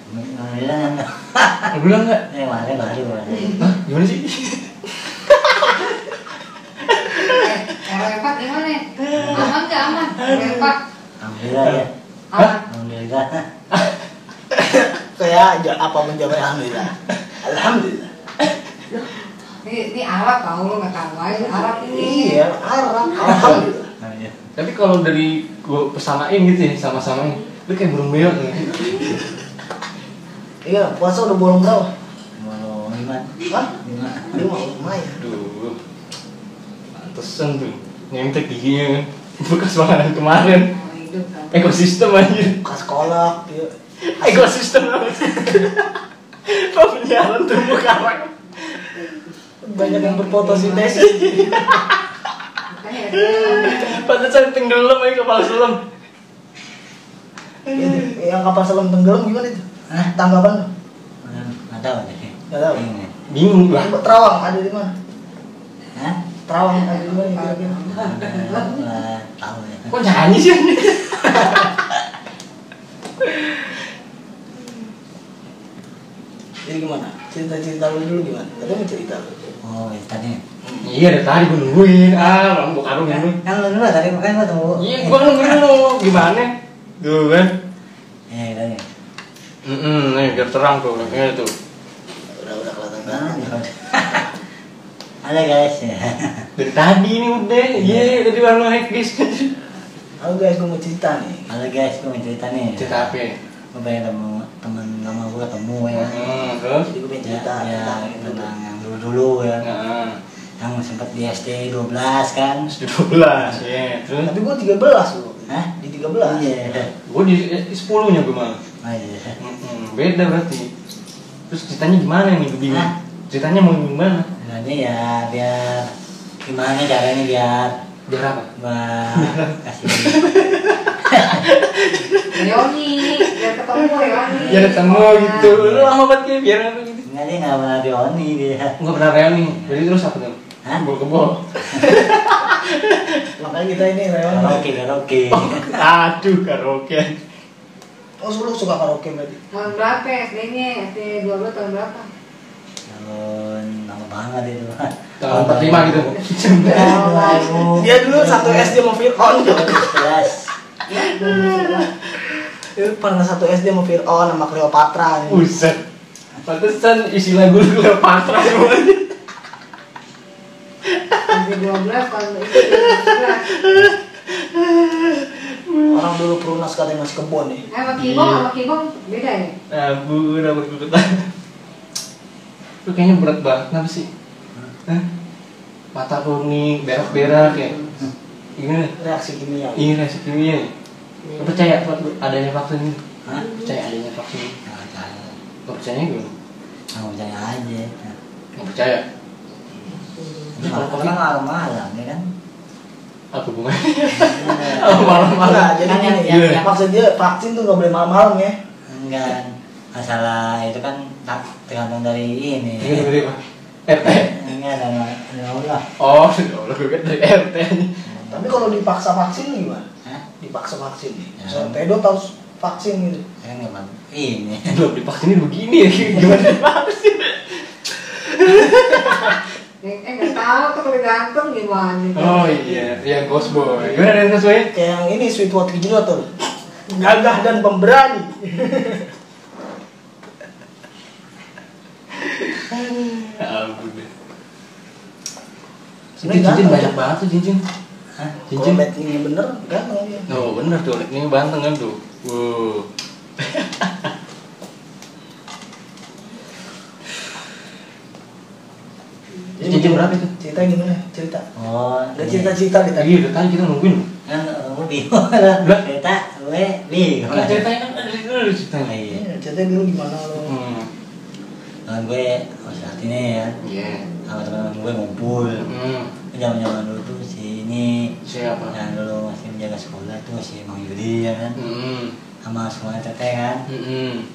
S4: Alhamdulillah enggak.
S1: Lu bilang enggak?
S4: Eh, kemarin baru baru.
S1: Hah? Gimana sih?
S5: Eh, kalau lepak gimana? Aman nggak aman? Kalau lepak
S4: Alhamdulillah ya.
S5: aman.
S4: Alhamdulillah.
S2: kayak ja- apa pun jawabnya alhamdulillah alhamdulillah
S5: Ini, ini Arab kau lu nggak tahu aja Arab ini.
S2: iya arah alhamdulillah
S4: Alhamdulillah.
S1: Tapi kalau dari gua pesamain gitu ya, sama-samain. Lu kayak burung ya. beo nih.
S2: iya puasa udah bolong berapa
S4: Mau iman.
S2: Hah?
S4: Iman.
S2: Dia mau lumayan
S1: Aduh. Pantesan tuh. Nyentek giginya kan. Bekas makanan kemarin.
S5: Mau hidup kan?
S1: Ekosistem anjir.
S2: buka sekolah iya
S1: Ekosistem apa sih? Pemeliharaan terumbu karang.
S2: banyak yang berfotosintesis
S5: Makanya ada-
S1: Pantesan tenggelam aja kepala sulam.
S2: Ini, Iya, yang kapal selam tenggelam gimana itu
S4: Hah?
S2: tanggapan lu?
S4: Enggak tahu deh.
S2: Nggak tahu.
S4: Bingung.
S1: Bingung lah.
S2: Yang buat terawang ada di mana
S4: Hah?
S2: terawang ada di mana kira-kira
S4: Alhamdulillah, Tahu ya.
S1: Kok nyanyi sih anjir?
S2: jadi gimana cerita-cerita lu dulu gimana ada mau cerita lu
S4: Oh, ya, tadi.
S1: Iya dari tadi gue nungguin. Ah, orang buka karung nungguin.
S4: Kan lu dulu tadi makanya gua tunggu.
S1: Iya, gua nungguin lu. Gimana? Tuh kan.
S4: Iya, tadi.
S1: Mm nih biar terang tuh, kayak tuh.
S2: udah udah kelihatan kan?
S4: Nah,
S2: banget
S4: Ada guys ya.
S1: Dari tadi ini udah, iya tadi baru hektis.
S2: Halo guys, gue mau cerita nih.
S4: Halo guys, gue mau cerita nih.
S1: Cerita apa? ya?
S4: Gue pengen ketemu temen lama gue ketemu ya.
S1: Hmm, terus?
S2: Jadi gue pengen
S4: Ya,
S2: cerita
S4: ya,
S2: tentang itu.
S4: tentang yang dulu dulu ya.
S1: Nah,
S4: Yang sempet di SD 12 kan.
S1: terus di 12, iya. Terus
S2: Tapi gue 13 loh.
S4: Hah?
S2: Di 13.
S4: Iya.
S1: gue di eh, 10-nya gue malah.
S4: Oh iya.
S1: Mm-mm, beda berarti. Terus ceritanya gimana nih gue bingung?
S4: Hah?
S1: Ceritanya mau gimana?
S4: Nanti ya biar gimana caranya biar
S1: Biar apa?
S4: gua kasih
S5: Leoni, biar ketemu Leoni. Iya.
S1: Biar ketemu gitu. Lu lama banget kayak biar apa gitu.
S4: Enggak dia nggak pernah dioni dia.
S1: Enggak pernah reuni. Jadi terus apa tuh?
S4: Hah?
S1: Kebol-kebol.
S2: Makanya kita ini reuni.
S4: Karaoke karaoke.
S1: Aduh, karaoke.
S2: Oh, lu suka karaoke berarti?
S5: Tahun berapa ya, SD-nya? SD 12 tahun berapa?
S4: Tahun lama banget itu.
S1: Tahun pertama gitu. iya.
S4: Oh.
S3: Dia dulu satu SD mau Fir'aun.
S4: Jelas.
S2: Itu pernah satu SD mau Fir'aun sama Cleopatra nih.
S1: Buset. Pantesan isi lagu lu Cleopatra semuanya.
S5: SD 12 tahun SD 11.
S2: Orang dulu perunas katanya masih kebon nih.
S5: Eh, sama Kibong, sama Kibong beda ya?
S1: Nah, bu, rambut kukutan. Lu kayaknya berat banget, kenapa sih? Hah? Mata kuning, berak-berak ya. Gimana?
S2: Reaksi kimia.
S1: Ini reaksi kimia. ya? Lu percaya fak- adanya vaksin ini?
S4: Hah?
S1: Percaya adanya vaksin ini?
S4: Nggak tahu.
S1: Gak percaya gue?
S4: Aku percaya aja.
S1: Gak percaya?
S4: Ini kalau
S1: Kalau
S4: orang malam-malam ya kan.
S1: Apa hubungannya? Oh, malam-malam. Iya.
S2: Nah, jadi
S4: Kan yang-
S2: gini,
S1: yang-
S2: ya, maksud dia vaksin tuh nggak boleh malam-malam ya.
S4: Enggak. Masalah itu kan tak tergantung dari ini.
S1: Ini dari apa? RT.
S4: Enggak sama ya Allah.
S1: iya. Oh, ya Allah, gue kira dari RT.
S2: Tapi kalau dipaksa vaksin gimana?
S4: Hah?
S2: Dipaksa vaksin nih.
S4: Ya.
S2: Misalnya pedo harus vaksin gitu.
S4: Kan enggak mau ini.
S1: Eh, Belum divaksinnya begini ya, gimana divaksin?
S5: Eh, eh, nggak tahu tuh kalau ganteng gimana?
S1: Oh iya, ya Ghost Boy. Gimana dengan Ghost Boy?
S2: Kayak yang ini Sweetwater Gila tuh. Gagah dan pemberani.
S1: Ya ampun deh.
S2: Sebenarnya ganteng.
S1: banget tuh cincin.
S4: Hah?
S2: Kalau matchingnya bener, ganteng dia.
S1: Oh bener tuh, ini banteng kan tuh. Wow.
S2: Jadi
S1: Itu jam berapa itu?
S2: Cerita gimana? Cerita.
S4: oh
S2: Ada
S4: ini.
S2: cerita-cerita kita.
S1: Iya, udah tadi kita nungguin loh.
S4: kan gue bingung lah
S1: Lah?
S4: cerita gue bingung
S1: Kan ceritanya kan ada itu udah ceritanya.
S4: iya
S2: Iya, Cerita dulu gimana lo?
S1: Hmm.
S4: Nah, gue harus hati nih ya
S1: Iya.
S4: sama teman-teman gue ngumpul
S1: Hmm.
S4: zaman zaman dulu tuh si ini
S1: Siapa?
S4: yang dulu masih menjaga sekolah tuh si Mang Yudi ya kan
S1: Hmm.
S4: sama semua teteh kan
S1: Hmm.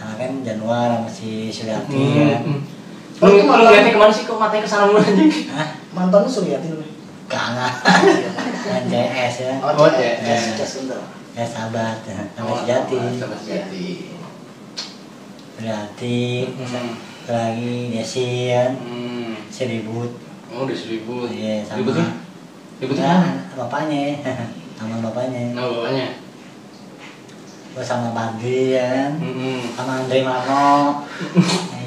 S4: sama kan Januar sama si Suryati kan
S1: Hmm. Lu
S2: Oh, itu
S1: lu
S2: malah-
S1: liatnya kemana sih? Kok matanya kesana mulu anjing?
S4: Hah?
S2: Mantan lu Suryati lu.
S4: kalah kan CS ya
S1: Oh,
S4: CS.
S2: CS, CS bentar.
S4: ya sahabat ya. sama si Jati
S1: Oh, Sama sejati.
S4: Suryati
S1: Hmm.
S4: lagi Desi kan
S1: Hmm.
S4: si Ribut
S1: Oh, udah seribu. ya?
S4: Iya, sama.
S1: Ributnya? Ributnya
S4: ya
S1: mana?
S4: bapaknya (laughs) sama bapaknya
S1: Nah, bawahnya.
S4: gue sama Bandi ya kan
S1: Hmm.
S4: sama Andre
S2: (laughs)
S4: Marno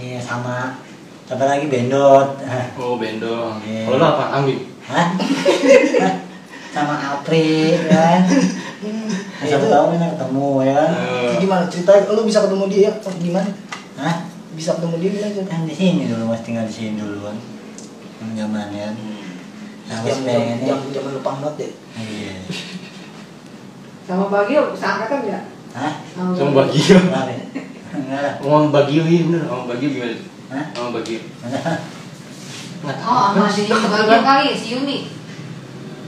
S4: iya sama siapa lagi Bendot (laughs)
S1: Oh, bendong.
S4: Iya.
S1: Kalau lu apa? Ambil.
S4: Hah? sama Apri ya kan Nah,
S2: Iya, itu.
S4: satu
S2: Hmm.
S4: tahun kita ketemu ya kan
S1: Eh,
S2: Gimana cerita? Lu bisa ketemu dia? Oh, gimana?
S4: Hah?
S2: Bisa ketemu dia gimana? Jon?
S4: kan di sini dulu mas tinggal di sini dulu kan Zaman zaman ya nah
S2: Jam
S4: mas pengen
S2: Hmm. jam jam lu pangdot deh.
S4: iya
S5: Sama Bagio seangkatan ya?
S4: Hah?
S5: Sama
S1: Sama
S5: Bagio.
S1: Bagio.
S4: Enggak ya? Enggak lah
S1: Ngomong Bagio iya bener. Ngomong Bagio gimana?
S4: Hah?
S1: Ngomong Bagio.
S2: (laughs)
S1: Nggak tahu.
S5: Oh, sama si Bagio kali, si Yuni.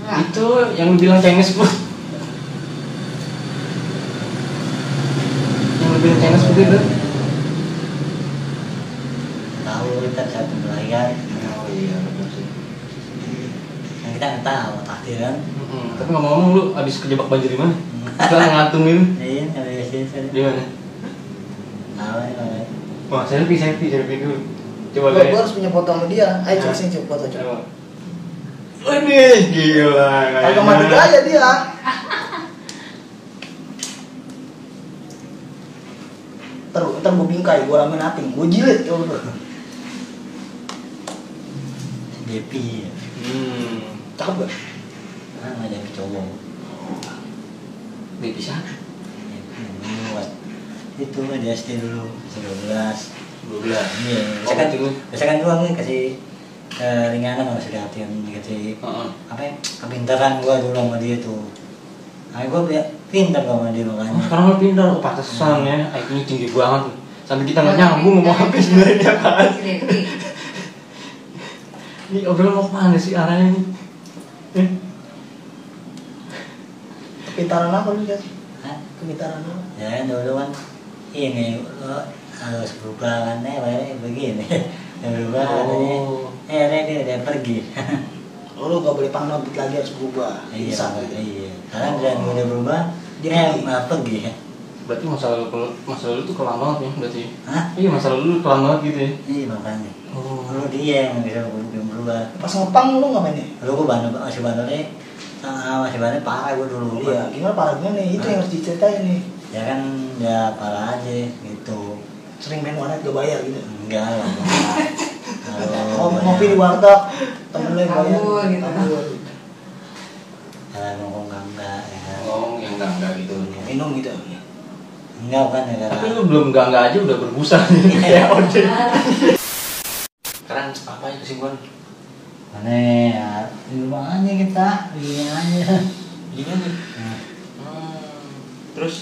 S5: Enggak.
S1: Itu yang lu bilang Chinese food. yang lu bilang Chinese food itu.
S4: tahu kita bisa ketemu lagi kan
S1: Oh iya, betul sih.
S4: Nah, kita nggak tahu takdir kan
S1: Mm-mm. Tapi ngomong-ngomong lu abis kejebak banjir di mana? (laughs) Kita ngantungin
S4: iya kalau di sini saya
S1: di mana?
S4: tahu ya kalau ya.
S1: Wah, selfie, selfie, selfie dulu. Coba
S2: Gua, gua
S1: lihat.
S2: harus punya foto sama dia. Ayo
S1: Hah?
S2: cek sini cek foto cek.
S1: Coba. Ini gila.
S2: Kagak mati
S1: kayaknya.
S2: aja dia. Ntar, ntar gue bingkai, gue ramen ating, gue jilid coba bro.
S4: Depi ya
S1: Hmm.
S2: Cakep gak?
S4: kan nggak jadi cowok
S1: Dia bisa.
S4: Depi dulu Mas. Hmm, itu kan di SD dulu dua belas
S1: 12.
S4: iya
S1: Oh,
S4: biasa kan
S1: gitu.
S4: biasa kan gua kan kasih eh, ringanan sama sudah hati yang dikasih
S1: Heeh.
S4: apa ya kepintaran gua dulu sama dia tuh nah gua ya, pintar sama dia
S1: Oh,
S4: makanya
S1: sekarang lo pindah lo pantesan ya, IQ-nya tinggi banget tuh. Sampai kita nggak nyambung ngomong apa sebenarnya dia apaan.
S5: Si Devi.
S1: Ini obrolan mau kemana sih arahnya ini? Eh,
S2: Kepintaran apa lu Jas?
S4: Hah?
S2: Kepintaran apa?
S4: ya kan dulu kan ini lo harus berubah kan eh bayarnya begini (laughs) yang berubah katanya
S1: Oh.
S4: eh akhirnya dia udah pergi (laughs)
S2: Oh, lu gak boleh pangdot lagi harus berubah.
S4: iya
S2: Bisa
S4: Pak,
S2: gitu.
S4: iya karena dia
S1: Oh.
S4: udah berubah
S2: Dia
S4: dia
S2: pergi.
S4: malah pergi
S1: Berarti masa lalu masa lalu tuh kelam banget ya berarti.
S4: Hah?
S1: Iya masa lalu lu kelam banget gitu ya.
S4: iya makanya
S1: Oh.
S4: dulu dia yang bisa ber- yang berubah
S2: Pas ngepang lu ya? gak mainnya?
S4: dulu gue bandel masih bandelnya ah, masih bandel parah gue dulu
S2: Iya, gimana parah gimana nih? Itu yang harus diceritain nih.
S4: ya kan ya parah aja gitu
S2: Sering main warnet gak bayar gitu.
S4: enggak lah
S1: (laughs)
S2: Oh, ngopi di warteg, temen lu yang bayar.
S5: Kabur gitu.
S2: Kabur.
S4: ya ngomong enggak ya kan.
S1: Oh, yang enggak enggak gitu.
S2: Minum gitu.
S4: enggak bukan ya
S1: Tapi
S4: karena
S1: lu belum enggak enggak aja udah berbusa (laughs) nih kayak ode. Sekarang apa ya kesimpulan?
S4: mana ya di rumah aja kita begini aja
S1: Gimana?
S4: Nah,
S1: Hmm, terus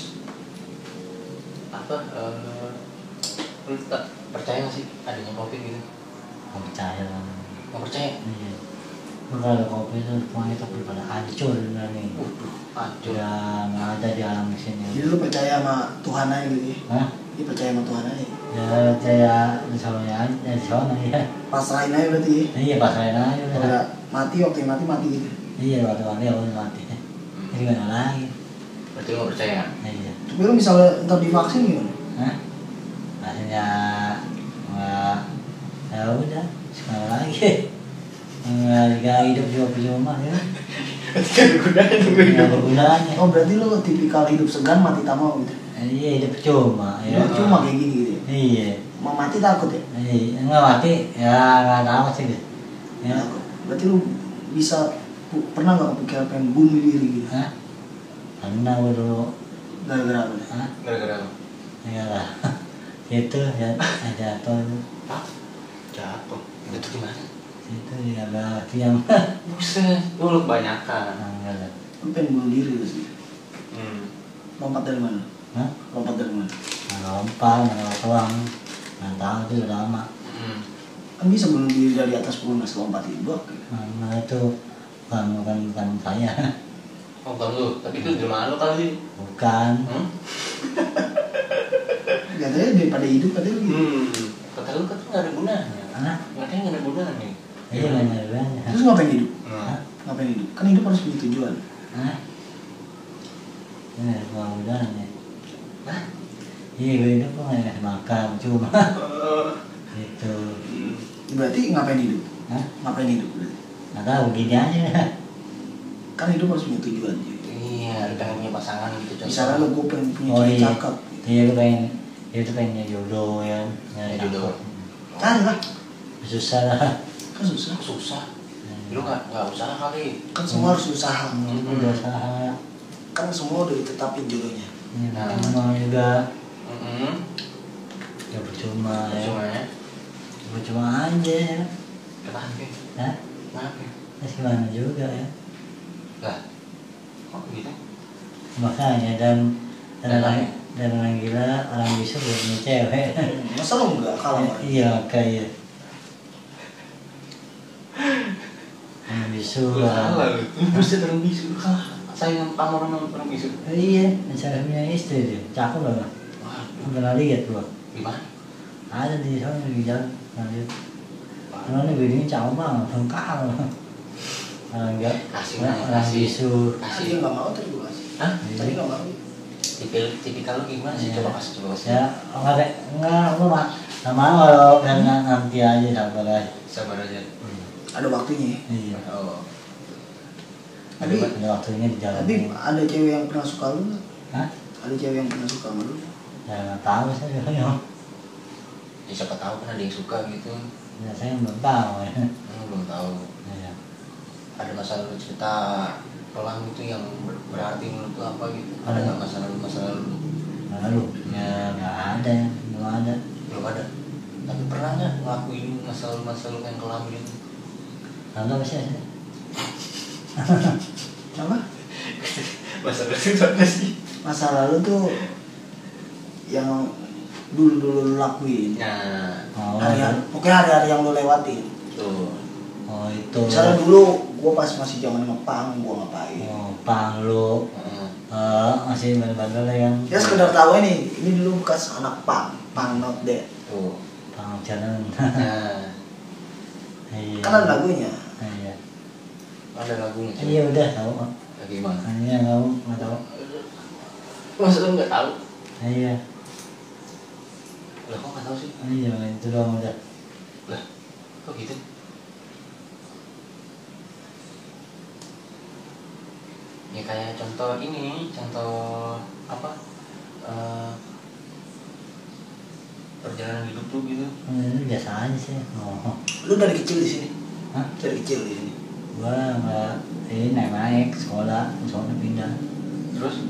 S1: apa? eh, lu tak percaya nggak sih adanya covid gitu?
S4: mau percaya lah
S1: Nggak percaya?
S4: iya Gua kalau kopi itu rumah itu pada hancur bener nih
S1: Waduh, hancur.
S4: sudah nggak ada di alam
S2: Jadi
S1: Iya.
S4: sini
S2: lu percaya sama Tuhan aja gitu ya?
S4: Hah?
S2: Dia percaya sama Tuhan aja.
S4: ya saya di sana ya di sana ya
S2: Pasrahin aja berarti ya?
S4: iya pasarin aja
S2: Kalau
S4: udah.
S2: nggak mati waktu yang mati mati gitu.
S4: Iya, waktu-waktu ya udah mati. Jadi gimana lagi?
S1: Berarti lu nggak percaya?
S4: Nah, Iya.
S2: Tapi lu misalnya ntar divaksin gimana?
S4: Hah? Akhirnya nggak ya udah sekali lagi. Nggak nggak hidup juga percuma ya.
S1: (laughs) Kan udah nunggu
S4: Nggak bergunanya.
S2: Oh berarti lu tipikal hidup segan mati tak mau gitu.
S4: Iya hidup percuma ya.
S2: Ya. Cuma kayak gini gitu. ya?
S4: Iya.
S2: Mau mati takut ya?
S4: Iya nggak mati ya nggak tahu sih deh. Ya.
S2: Takut. Berarti lu bisa pu- pernah nggak kepikiran pengen bunuh diri gitu?
S4: Hah? Karena gue dulu.
S2: Gara-gara apa? nih?
S4: Hah?
S1: Iya. Gara-gara apa?
S4: Ya lah. (laughs) Itu ya jatuh.
S1: Hah? Jatuh. Jatuh gimana?
S4: itu juga berarti (laughs) yang
S1: buset lu lu kebanyakan
S4: enggak
S2: Lu pengen bunuh diri lu sih.
S1: hmm.
S2: Lompat dari mana?
S4: Hah?
S2: Lompat dari mana?
S4: Nggak lompat nggak keluar nggak tahu itu udah lama
S1: Hmm.
S2: Kan bisa bunuh diri dari atas pun nggak lompat di blok.
S4: nah itu bukan bukan bukan saya (laughs)
S1: oh bukan lu tapi itu jelmaan lu kali
S4: bukan
S1: hmm?
S2: Katanya Ya, daripada hidup katanya lu gitu.
S1: hmm. kata lu kata nggak ada gunanya
S4: anak
S1: katanya nggak ada gunanya
S4: itu nggak nyari
S2: Terus ngapain hidup?
S1: Nah,
S2: Ngapain hidup? Kan hidup harus punya tujuan.
S4: Hah? Ini ada pengangguran ya?
S1: Hah?
S4: Iya, gue hidup kok nggak dikasih makan, cuma gitu.
S1: hmm.
S2: Berarti ngapain hidup?
S4: Hah?
S2: Ngapain hidup? berarti?
S4: Nggak tahu, gini aja.
S2: Kan hidup harus punya tujuan. cuy.
S1: iya lu pengen punya pasangan gitu contoh.
S2: Misalnya lu gue pengen punya
S4: Oh,
S2: cewek
S4: iya.
S2: cakep.
S4: Iya, gue pengen, dia tuh pengen nyari jodoh ya, nyari
S1: Nyari jodoh.
S4: jodoh.
S2: Cari lah.
S4: Susah lah.
S2: Kan susah.
S1: susah lu nggak nggak usaha kali
S2: Kan semua harus usaha.
S4: Nah, Itu udah usaha.
S2: Kan semua udah ditetapin jodohnya.
S4: Ini
S1: Nah.
S4: percuma juga,
S1: hmm.
S4: ya percuma ya.
S1: cuma ya
S4: Percuma aja ya.
S1: kenapa
S4: Hah?
S1: kenapa
S4: Terus gimana juga ya.
S1: lah kok gitu
S4: Makanya dan dan
S1: Dan
S4: orang,
S1: lain.
S4: dan orang gila, orang bisa buat punya cewek. (laughs)
S2: Masa lu nggak kalah? Mar?
S4: Iya kayak Yang bisu
S1: Lu
S4: lah.
S1: kalah lu Lu buset orang bisu Lu kalah Saingan sama orang orang bisu
S4: Iya, misalnya punya istri dia, cakep lah.
S1: Waduh
S4: Aku pernah lihat gua.
S1: Gimana?
S4: Ada di sana di jalan, pernah lihat. Karena ini gini cakep banget, tengkar. Orang enggak,
S1: Kasih,
S4: orang-
S1: Mas,
S4: orang
S1: kasih.
S4: bisu.
S1: Kasih
S6: dia nggak mau tadi gue kasih
S1: Hah?
S6: tadi nggak mau
S1: Tipil, tipikal lu gimana sih?
S4: Iya.
S1: Coba kasih coba kasih
S4: Ya, enggak deh, enggak, lu mah sama kalau karena nanti aja sabar aja.
S1: Sabar aja
S2: Ada waktunya ya.
S4: Iya.
S1: Oh
S2: Tapi,
S4: Ada waktunya di jalan.
S2: tapi ada cewek yang pernah suka lu nggak?
S4: Hah?
S2: Ada cewek yang pernah suka sama lu?
S4: Ya nggak tahu saya kan.
S1: Ya siapa tahu kan ada yang suka gitu Kan
S4: Ya saya belum tahu ya.
S1: Lu belum tahu
S4: Iya.
S1: Ada masalah lu cerita Pelang itu yang ber- berarti menurut lu apa gitu Ada
S4: Ada.
S1: nggak masalah lu masalah lu
S4: lalu ya nggak ada belum ada
S1: Belum ada Tapi pernah nggak ngelakuin masalah lu masalah lu yang kelam gitu
S4: lalu apa sih Asa?
S2: Apa?
S1: (laughs) Masalah lu itu apa sih?
S2: Masa lalu tuh yang dulu-dulu lu lakuin.
S1: Nah
S4: oh,
S2: Hari, pokoknya hari-hari yang lu lewatin.
S1: Tuh
S4: oh itu
S2: Misalnya dulu gue pas masih zaman ngepang, gue ngapain?
S4: oh, pang lu
S1: Heeh.
S4: eh, masih bandel-bandel ya kan
S2: Ya sekedar tahu nih, ini dulu bekas anak pang, pang not dead.
S1: Tuh
S4: pang jalan
S1: Nah
S4: iya
S2: Kan ada lagunya.
S4: iya
S1: ada lagunya coba.
S4: iya udah tahu kok
S1: Lagi gimana?
S4: hanya tahu nggak tahu
S1: Masa lu nggak tahu?
S4: iya
S1: Lah kok nggak tahu sih?
S4: iya itu doang udah
S1: Lah kok gitu? Ya kayak contoh ini, contoh apa? Eh, perjalanan hidup lu gitu.
S4: Eh, itu biasa aja sih oh
S2: Lu dari kecil di sini.
S4: Hah?
S2: Dari kecil di sini.
S4: gua nggak ini naik naik sekolah sekolah pindah
S1: Terus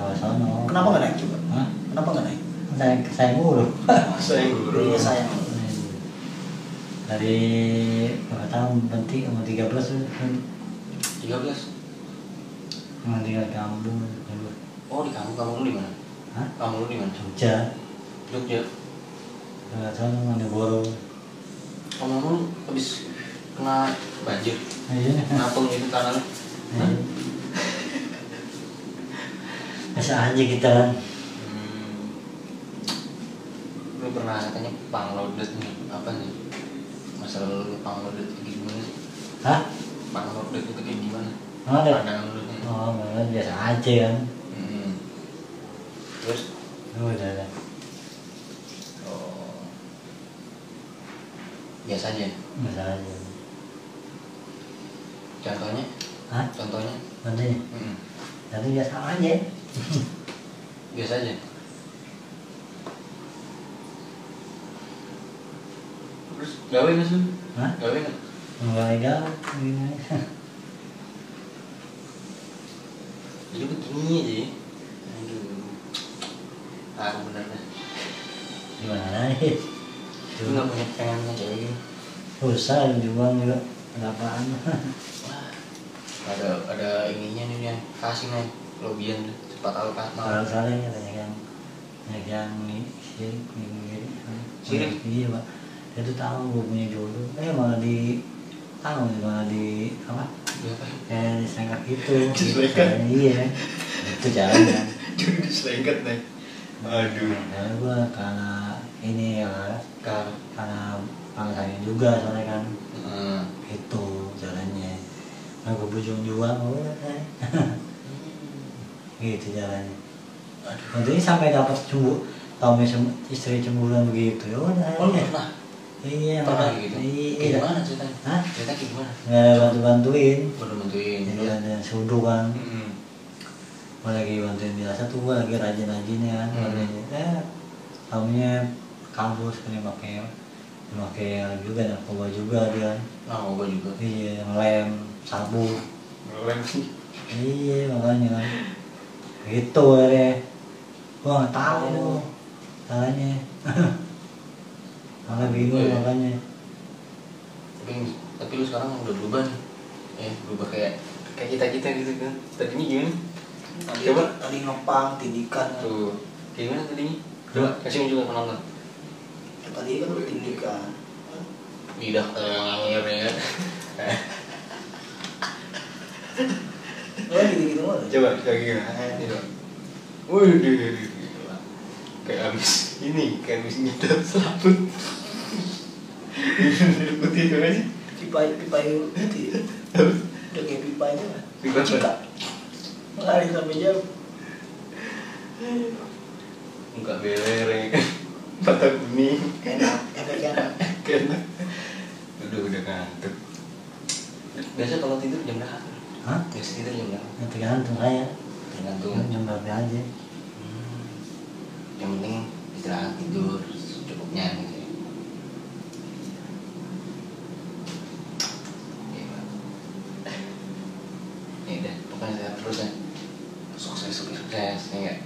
S4: nggak sono
S2: Kenapa nggak naik coba?
S4: Hah?
S2: Kenapa nggak naik?
S4: naik saya mulu
S1: saya
S2: Iya sayang.
S4: dari berapa tahun berhenti umur 13 tuh kan
S1: 13.
S4: umur tinggal kampung dulu
S1: Oh, di kamu kamu lu di mana?
S4: Hah?
S1: Kamu lu di mana?
S4: Jogja
S1: Jogja.
S4: nggak tahu Malioboro
S1: Kamu lu habis kena banjir.
S4: iya
S1: Kenapa gitu tanah lu?
S4: Iya. biasa aja kita kan
S1: Hmm. lu pernah katanya panglodet nih apa nih masalah lu panglodet itu kayak gimana sih
S4: hah
S1: panglodet itu kayak gimana
S4: nggak ada
S1: pandangan lu nih
S4: oh nggak ada, biasa aja kan
S1: hmm. terus
S4: oh, udah ada
S1: oh, biasa aja
S4: biasa aja
S1: contohnya
S4: hah
S1: contohnya
S4: nanti
S1: hmm.
S4: nanti biasa aja (laughs)
S1: biasa aja terus gawe nggak sih lu?
S4: hah
S1: gawe nggak
S4: nggak legal gimana
S1: jadi begini aja ya. aduh aku bener dah
S4: gimana nih
S1: lu nggak punya pengen punya cewek gitu
S4: susah dijual juga (laughs) berapaan
S1: ada ada ininya nih yang kasih nih lobian tuh, cepat tahu kan
S4: kalau kalian ya banyak yang banyak yang ini sirik ini ini
S1: Sirik?
S4: iya pak dia tuh tahu gue punya jodoh eh malah di tahu malah di apa
S1: berapa
S4: kayak disangkat gitu
S1: Disangkat?
S4: Nah, iya itu jalan kan?
S1: jadi diselengket nih aduh
S4: Nah, gue karena ini ya
S1: kar
S4: karena pangsanya juga soalnya kan
S1: Heeh.
S4: itu jalannya nah gue bujung jual boleh. eh. (laughs) gitu jalannya nanti sampai dapat cembu tahunya sem- istri cemburuan begitu ya udah
S1: oh lu
S4: iya.
S1: pernah
S4: iya
S1: pernah
S4: Mak.
S1: gitu
S4: iya
S1: kayak gimana ceritanya
S4: Hah?
S1: cerita kayak gimana
S4: nggak ada bantu bantuin
S1: baru bantuin
S4: jadi
S1: ya
S4: ada sudu kan
S1: Mm-mm.
S4: gue lagi bantuin biasa tuh gue lagi rajin rajinnya kan
S1: Hmm.
S4: rajin eh tahunya kampus kan yang pakai yang pakai juga narkoba juga dia
S1: nah gua juga
S4: iya lem sabu
S1: ngelem sih
S4: iya makanya kan gitu ya gua nggak
S1: Oh.
S4: tahu caranya malah bingung
S1: Iya.
S4: makanya
S1: tapi tapi lu sekarang udah berubah nih eh berubah kayak kayak kita kita gitu kan tadinya gimana coba
S2: tadi ngepang tindikan
S1: tuh kayak gimana tadinya coba kasih unjuk ke penonton
S2: tadi kan lu tindikan
S1: lidah ngangir ya kan
S2: lo gitu gitu mulu
S1: (laughs) coba kayak gimana ini dong waduh waduh, waduh, gila. kayak abis ini kayak abis ngidap selaput putih itu aja
S2: pipa pipa gitu ya udah kayak pipa aja lah
S1: Pipa apa?
S2: Cika. lari sampai jauh
S1: muka beler ya kan mata kuning
S2: enak efeknya enak
S1: kena udah udah ngantuk biasa kalau tidur jam berapa
S4: hah
S1: biasa tidur jam berapa
S4: ya tergantung saya
S1: tergantung
S4: jam berapa aja
S1: Hmm. yang penting istirahat tidur cukupnya gitu ya. Iya, Pak. Ya udah, pokoknya sehat terus ya. Sukses, sukses, sukses, ya nggak?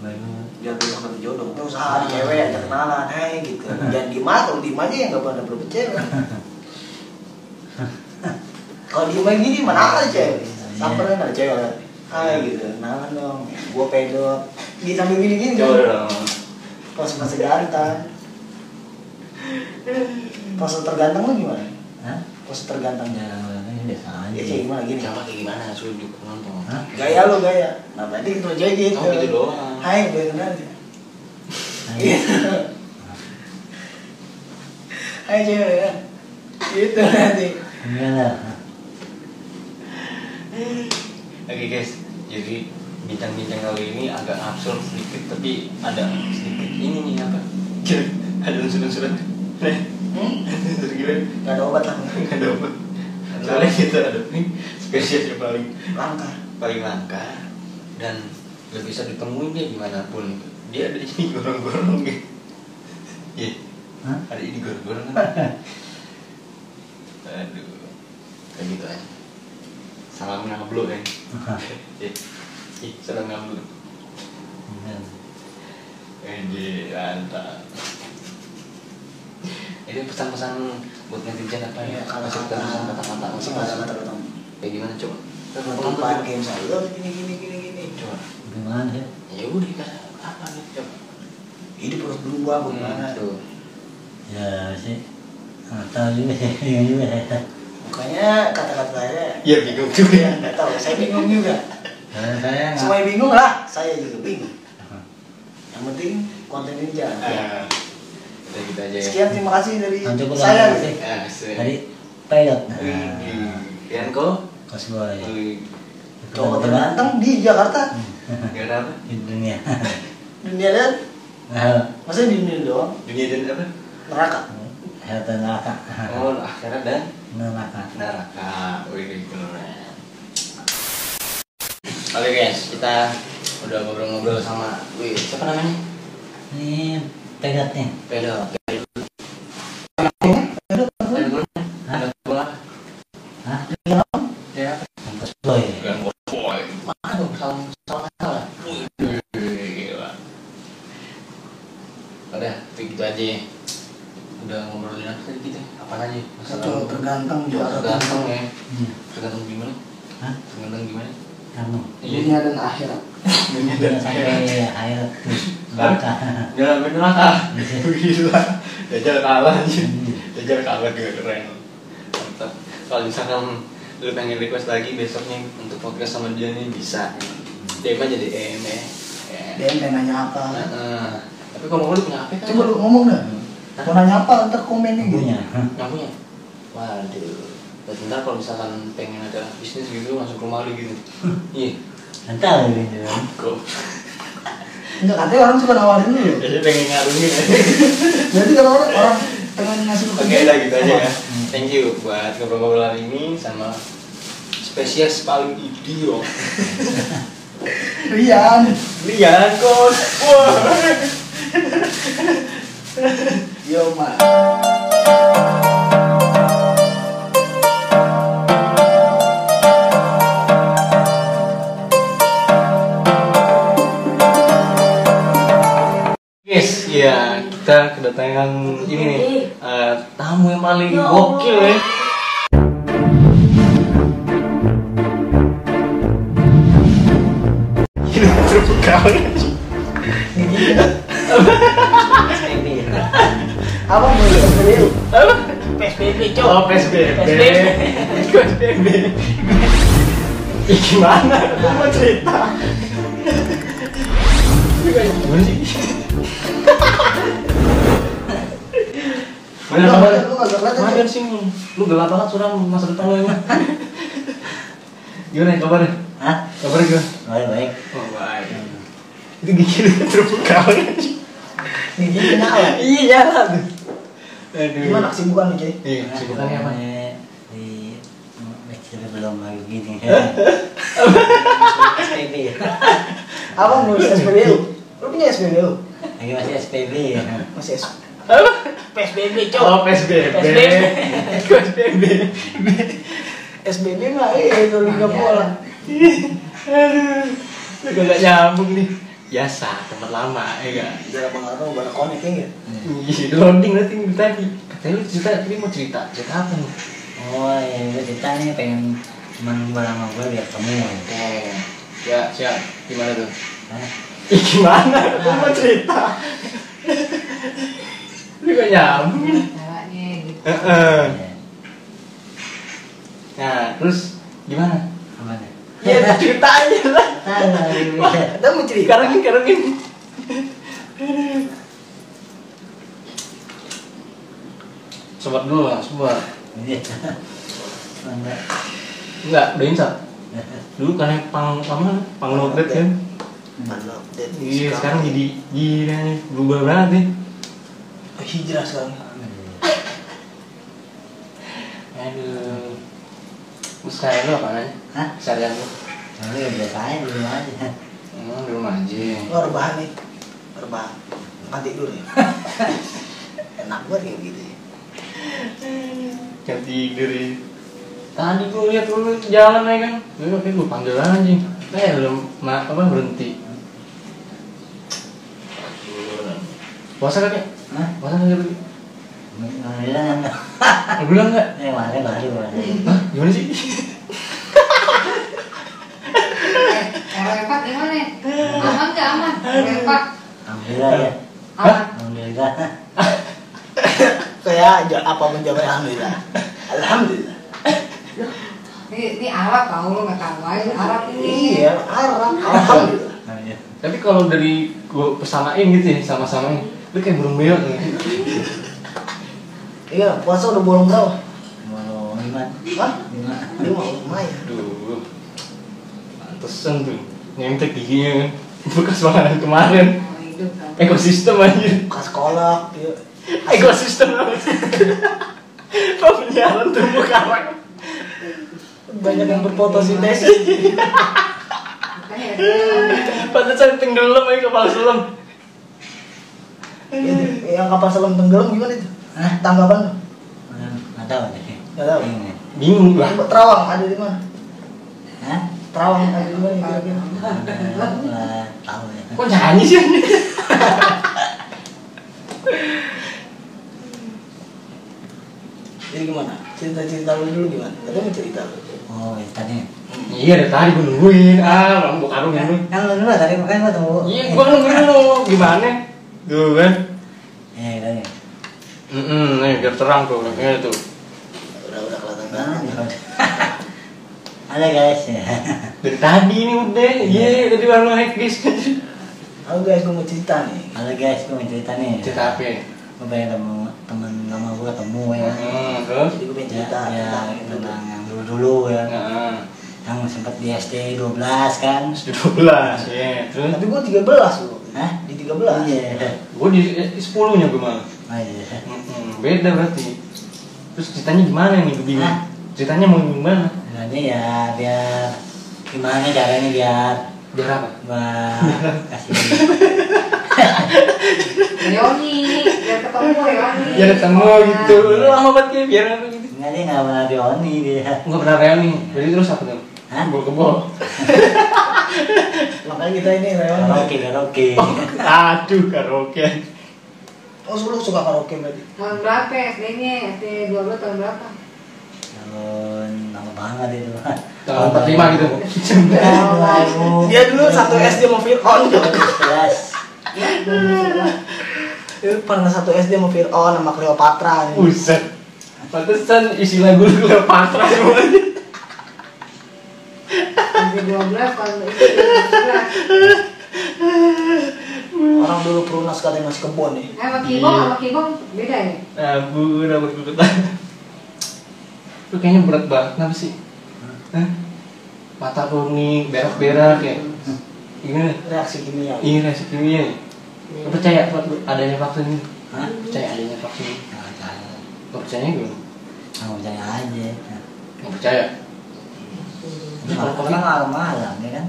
S4: kemarin
S2: biar bisa ketemu jodoh kita usaha di cewek aja kenalan hai
S4: (laughs)
S2: gitu jangan diem aja kalau diem aja ya nggak pernah dapet cewek kalau diem aja gini mana ada
S4: Iya,
S2: cewek sampai ada cewek hai gitu kenalan dong gua pedok di sambil gini gini
S1: Coba
S2: kan
S1: dong.
S2: pas masa ganteng pas terganteng lu gimana
S4: hah
S2: pas terganteng
S4: ya iya. ini biasa aja
S2: ya kayak gimana gini
S1: Coba kayak gimana? Suruh juga penonton.
S4: Hah?
S2: gaya lu gaya nah berarti ketemu cewek gitu
S1: Oh, gitu doang.
S2: hai gue kenal ya
S4: Nah,
S2: Iya. Hai cewek kan? Gitu nanti
S4: enggak lah
S1: Oke guys, jadi bincang-bincang kali ini agak absurd sedikit, tapi ada sedikit ini nih apa? (laughs) ada unsur-unsuran. Nih, (laughs) unsur gila.
S2: Gak ada obat lah
S1: nggak dapet soalnya kita ada nih spesies yang paling
S2: Langka
S1: paling langka dan nggak bisa ditemuin dia dimanapun dia ada di gorong-gorong gitu iya
S4: Hah?
S1: ada di gorong-gorong kan? aduh kayak gitu aja salam ngablu kan iya Ih, salam ngablu
S4: Enggak.
S1: Ini mantap. Ini pesan-pesan buat netizen apa ya?
S2: Iya, kalau
S1: Masih
S2: kata
S1: pesan kata-kata masih
S2: Kata-kata
S1: kata-kata.
S2: kata-kata
S1: Kayak Ya, gimana coba?
S2: Penutupan game saya Gini gini gini gini
S1: Coba.
S4: gimana sih
S1: Ya udah kata apa nih coba?
S2: Hidup harus berubah
S1: Gimana
S2: bagaimana
S1: tuh?
S4: ya sih nggak tahu (laughs) juga sih bingung juga ya
S2: Makanya kata-kata saya
S1: Ya bingung Nah.
S2: Ya gak tau Saya bingung juga
S4: Karena saya nggak
S2: Semuanya bingung lah Saya juga bingung Yang penting konten ini jalan
S1: Ah, Udah gitu aja ya.
S2: Sekian terima kasih dari
S4: Nanti aku
S2: saya
S4: lagi.
S2: gitu.
S1: Ah, sih.
S4: tadi pilot
S1: Wih,
S4: nah
S1: Yan kok?
S4: kos gue ya
S1: Wih,
S2: Cowok terganteng di Jakarta
S1: Hmm. Gak ada apa?
S4: (laughs) di dunia (laughs)
S2: Dunia dan
S4: Nah,
S2: Maksudnya di dunia doang
S1: Dunia dan apa?
S2: Neraka
S4: Harta neraka.
S1: Oh, akhirat dan
S4: Neraka.
S1: neraka wih keren oke guys kita udah ngobrol-ngobrol sama wih siapa namanya
S4: Ini pedatnya.
S1: pedo pedo ada bola
S4: Hah?
S1: ya
S4: Mampus boy.
S1: bukan boy mana dong salah salah salah wih gila udah itu gitu aja ya. udah ngobrolin apa tadi kita apa aja
S2: Kacau tergantang di arah
S1: tergantung ya
S4: Iya.
S1: tergantung gimana
S4: Hah?
S1: tergantung gimana
S4: Kamu. Iya,
S1: dunia dan akhirat
S2: Iya.
S1: dunia dan akhirat
S4: Sampai air terus neraka.
S1: jalan ah. bener lah gila ya jalan Allah aja ya jalan Allah keren mantap kalau misalkan lu pengen request lagi besoknya untuk podcast sama dia nih bisa DM aja DM ya Ya.
S2: DM pengen nanya apa
S1: Nah, eh. tapi kalau lu punya apa kan
S2: coba lu ngomong dah mau nanya apa ntar komennya gitu
S4: Punya.
S1: nggak punya waduh Berarti ntar kalau misalkan pengen ada bisnis gitu masuk rumah lu (laughs) gitu iya
S4: Entar gitu.
S1: kok
S2: enggak katanya orang suka nawarin lu
S1: jadi pengen ya. ngarungin aja
S2: berarti kalau orang, orang pengen ngasih lu
S1: Oke
S2: kerja,
S1: udah gitu aja
S2: apa?
S1: ya. Thank you buat ngobrol-ngobrolan ini sama spesies paling idiot.
S2: Rian
S1: Lian kos. Wah.
S2: yo ma
S1: Guys, ya kita kedatangan ini nih eh, tamu yang paling gokil ya. Gila, terbuka
S2: apa mau lu Lu
S1: Oh, PSBB. PSBB. Ya, gimana? Gua mau cerita. Gimana sih? Mana
S2: nggak
S1: kabar?
S2: kelihatan, lu nggak kelihatan.
S1: Mana sih lu? Lu gelap banget suram masa depan lu emang. Gimana kabarnya?
S4: Hah?
S1: Kabarnya gimana?
S4: Baik baik.
S1: Oh, baik.
S4: Hmm.
S1: Itu gigi lu terbuka.
S2: gigi kenal ya.
S1: Iya, jalan. Aduh.
S2: gimana kesibukan lu cuy
S1: Iya, sibukannya apa?
S4: Di masjid belum lagi gini. SPB.
S2: apa mau lu SPBU lu punya SPBU
S4: Lagi masih SPB.
S2: masih S
S7: PSBB
S1: Oh, PSBB. PSBB.
S2: SBB mah eh itu liga bola
S1: Aduh. Lu kagak nyambung nih. Biasa, tempat lama, ya enggak?
S2: jalan pengaruh baru konek ya nggak?
S1: Iya, loading nanti dari tadi. Katanya lu cerita, tapi mau cerita. Cerita apa nih?
S4: Oh ya gue cerita nih pengen teman gue sama gue biar ketemu.
S1: Eh, ya, siap. Gimana tuh?
S4: Hah?
S1: Ih, gimana? Lu mau cerita. Lu kagak nyambung nih.
S5: caranya gitu
S1: Eh, Heeh.
S4: Ya.
S1: Nah, terus gimana?
S4: Apa nih? Iya.
S1: Ya, cerita aja lah.
S4: Tahu.
S2: ada mau cerita
S1: Karungin, karungin. Sobat dulu lah, sobat.
S4: Iya. Enggak.
S1: Enggak, udah insap. Dulu kan yang pang sama pang nobet kan.
S2: Baru update
S1: Iya, sekarang jadi gila nih, berubah banget nih.
S2: hijrah sekarang
S1: Aduh. Terus sekarang lu apa nih?
S4: Hah?
S1: Seharian lu?
S4: Tapi ya biasa aja di rumah aja.
S1: Emang di rumah aja.
S2: lu rebahan nih rebahan makan tidur (laughs) ya enak banget kayak gitu ya
S1: Jam tidur ya. Tadi gua lihat lu jalan ya kan. Lu kayak gua panggil aja. Eh, belum ma- apa berhenti. Puasa kagak?
S4: Hah?
S1: Puasa kagak? Bi?
S4: Alhamdulillah enggak.
S1: Lu bilang enggak?
S4: Eh, kemarin baru baru.
S1: Hah? Gimana sih?
S5: Eh, repot gimana aman gak aman repot
S4: Alhamdulillah ya.
S5: aman
S4: Alhamdulillah.
S2: kayak aja apa menjawab alhamdulillah alhamdulillah
S5: ini ini Arab kau lu nggak tahu aja Arab ini
S2: iya arah alhamdulillah
S4: Alhamdulillah.
S1: Tapi kalau dari gua persamain gitu ya, sama-samain. Lu kayak burung ya. beo nih.
S2: iya puasa udah bolong berapa
S4: Mau lima.
S2: Hah?
S4: Lima.
S2: lima lumayan
S1: Aduh. Pantesan tuh. Nyentek giginya kan. Bekas makanan kemarin.
S5: Mau hidup kau
S1: Ekosistem anjir.
S2: buka sekolah iya.
S1: ekosistem pemeliharaan terumbu karang
S2: banyak yang berfotosintesis
S5: makanya dia-
S1: pantesan tenggelam aja kapal selam
S2: Ini, iya, yang kapal selam tenggelam gimana itu
S4: Hah?
S2: tanggapan lu?
S4: Enggak tahu deh.
S2: Nggak tahu.
S4: Ini.
S1: bingung lah
S2: Terawang ada di mana?
S4: Hah?
S2: Terawang ada di mana kira-kira?
S4: Enggak enggak tahu ya.
S1: kok nyanyi sih
S2: gimana? Cerita-cerita lu dulu gimana? Tadi mau cerita lu.
S4: oh ya tadi
S1: Iya dari tadi gue nungguin ah orang gue karung
S4: kan
S1: nungguin.
S4: kan lu dulu tadi makanya gua tunggu
S1: Iya gue nungguin lo gimana? Tuh kan?
S4: eh tadi
S1: Hmm, nih biar terang tuh, ya tuh.
S2: Udah udah kelihatan
S4: (laughs)
S2: kan?
S4: Nah, ya udah. ada guys ya
S1: Dari tadi ini udah, iya tadi baru naik bis.
S2: Halo guys, gue mau cerita nih.
S4: halo guys gue mau cerita nih
S1: Cerita apa? ya?
S4: gue pengen ketemu temen lama gue ketemu ya
S1: Hmm, terus?
S2: Jadi gue Iya. pengen
S4: ya,
S2: cerita Iya.
S4: ya
S2: tentang itu tuh.
S4: tentang yang dulu dulu ya
S1: Nah,
S4: yang sempat di SD 12 kan
S1: dua belas, ya terus.
S2: Tapi gue 13 loh.
S4: Hah?
S2: Eh, Di 13.
S4: iya
S1: Gue di eh, sepuluhnya gue malah.
S4: oh iya
S1: Mm-mm, beda berarti terus ceritanya gimana nih gue bingung
S4: Hah?
S1: ceritanya mau gimana
S4: Sebenarnya ya biar gimana caranya biar
S1: biar apa
S4: gua kasih
S5: Yoni, biar ketemu Nah, Yoni.
S1: biar ketemu
S5: Sekolah.
S1: gitu lu lama banget kayak biar apa gitu
S4: Enggak dia nggak pernah dioni dia.
S1: nggak pernah reuni jadi terus apa tuh
S4: Hah?
S1: kebol kebol
S2: (laughs) Makanya kita ini reuni.
S4: Karaoke karaoke.
S1: (laughs) aduh karaoke
S2: Oh, lu suka karaoke berarti?
S5: Tahun berapa ya, SD-nya? SD 12 tahun berapa?
S4: Tahun lama banget itu.
S1: tahun pertama gitu
S4: Iya, Oh.
S2: Dia dulu satu SD mau Fir'aun tuh.
S4: Jelas.
S2: Dia pernah satu SD mau Fir'aun sama Cleopatra nih.
S1: (laughs) buset pantesan isi lagu lu Cleopatra semuanya
S5: SD 12 tahun SD 12.
S2: Orang dulu perunas katanya masih kebon nih.
S5: Eh, sama Kibong, sama Kibong beda ya?
S1: abu rambut gue ketanya lu kayaknya berat banget kenapa sih Hah? mata kuning berak-berak ya gimana
S2: Reaksi kimia.
S1: Iya reaksi kimia. Lu
S2: Iya.
S1: percaya Pak, adanya vaksin ini?
S4: Hah?
S1: Percaya adanya vaksin ini?
S4: Nggak tahu.
S1: Gak percaya gimana?
S4: Aku percaya aja. Nah,
S1: Gak percaya?
S4: Ini kalau karena malam-malam ya kan.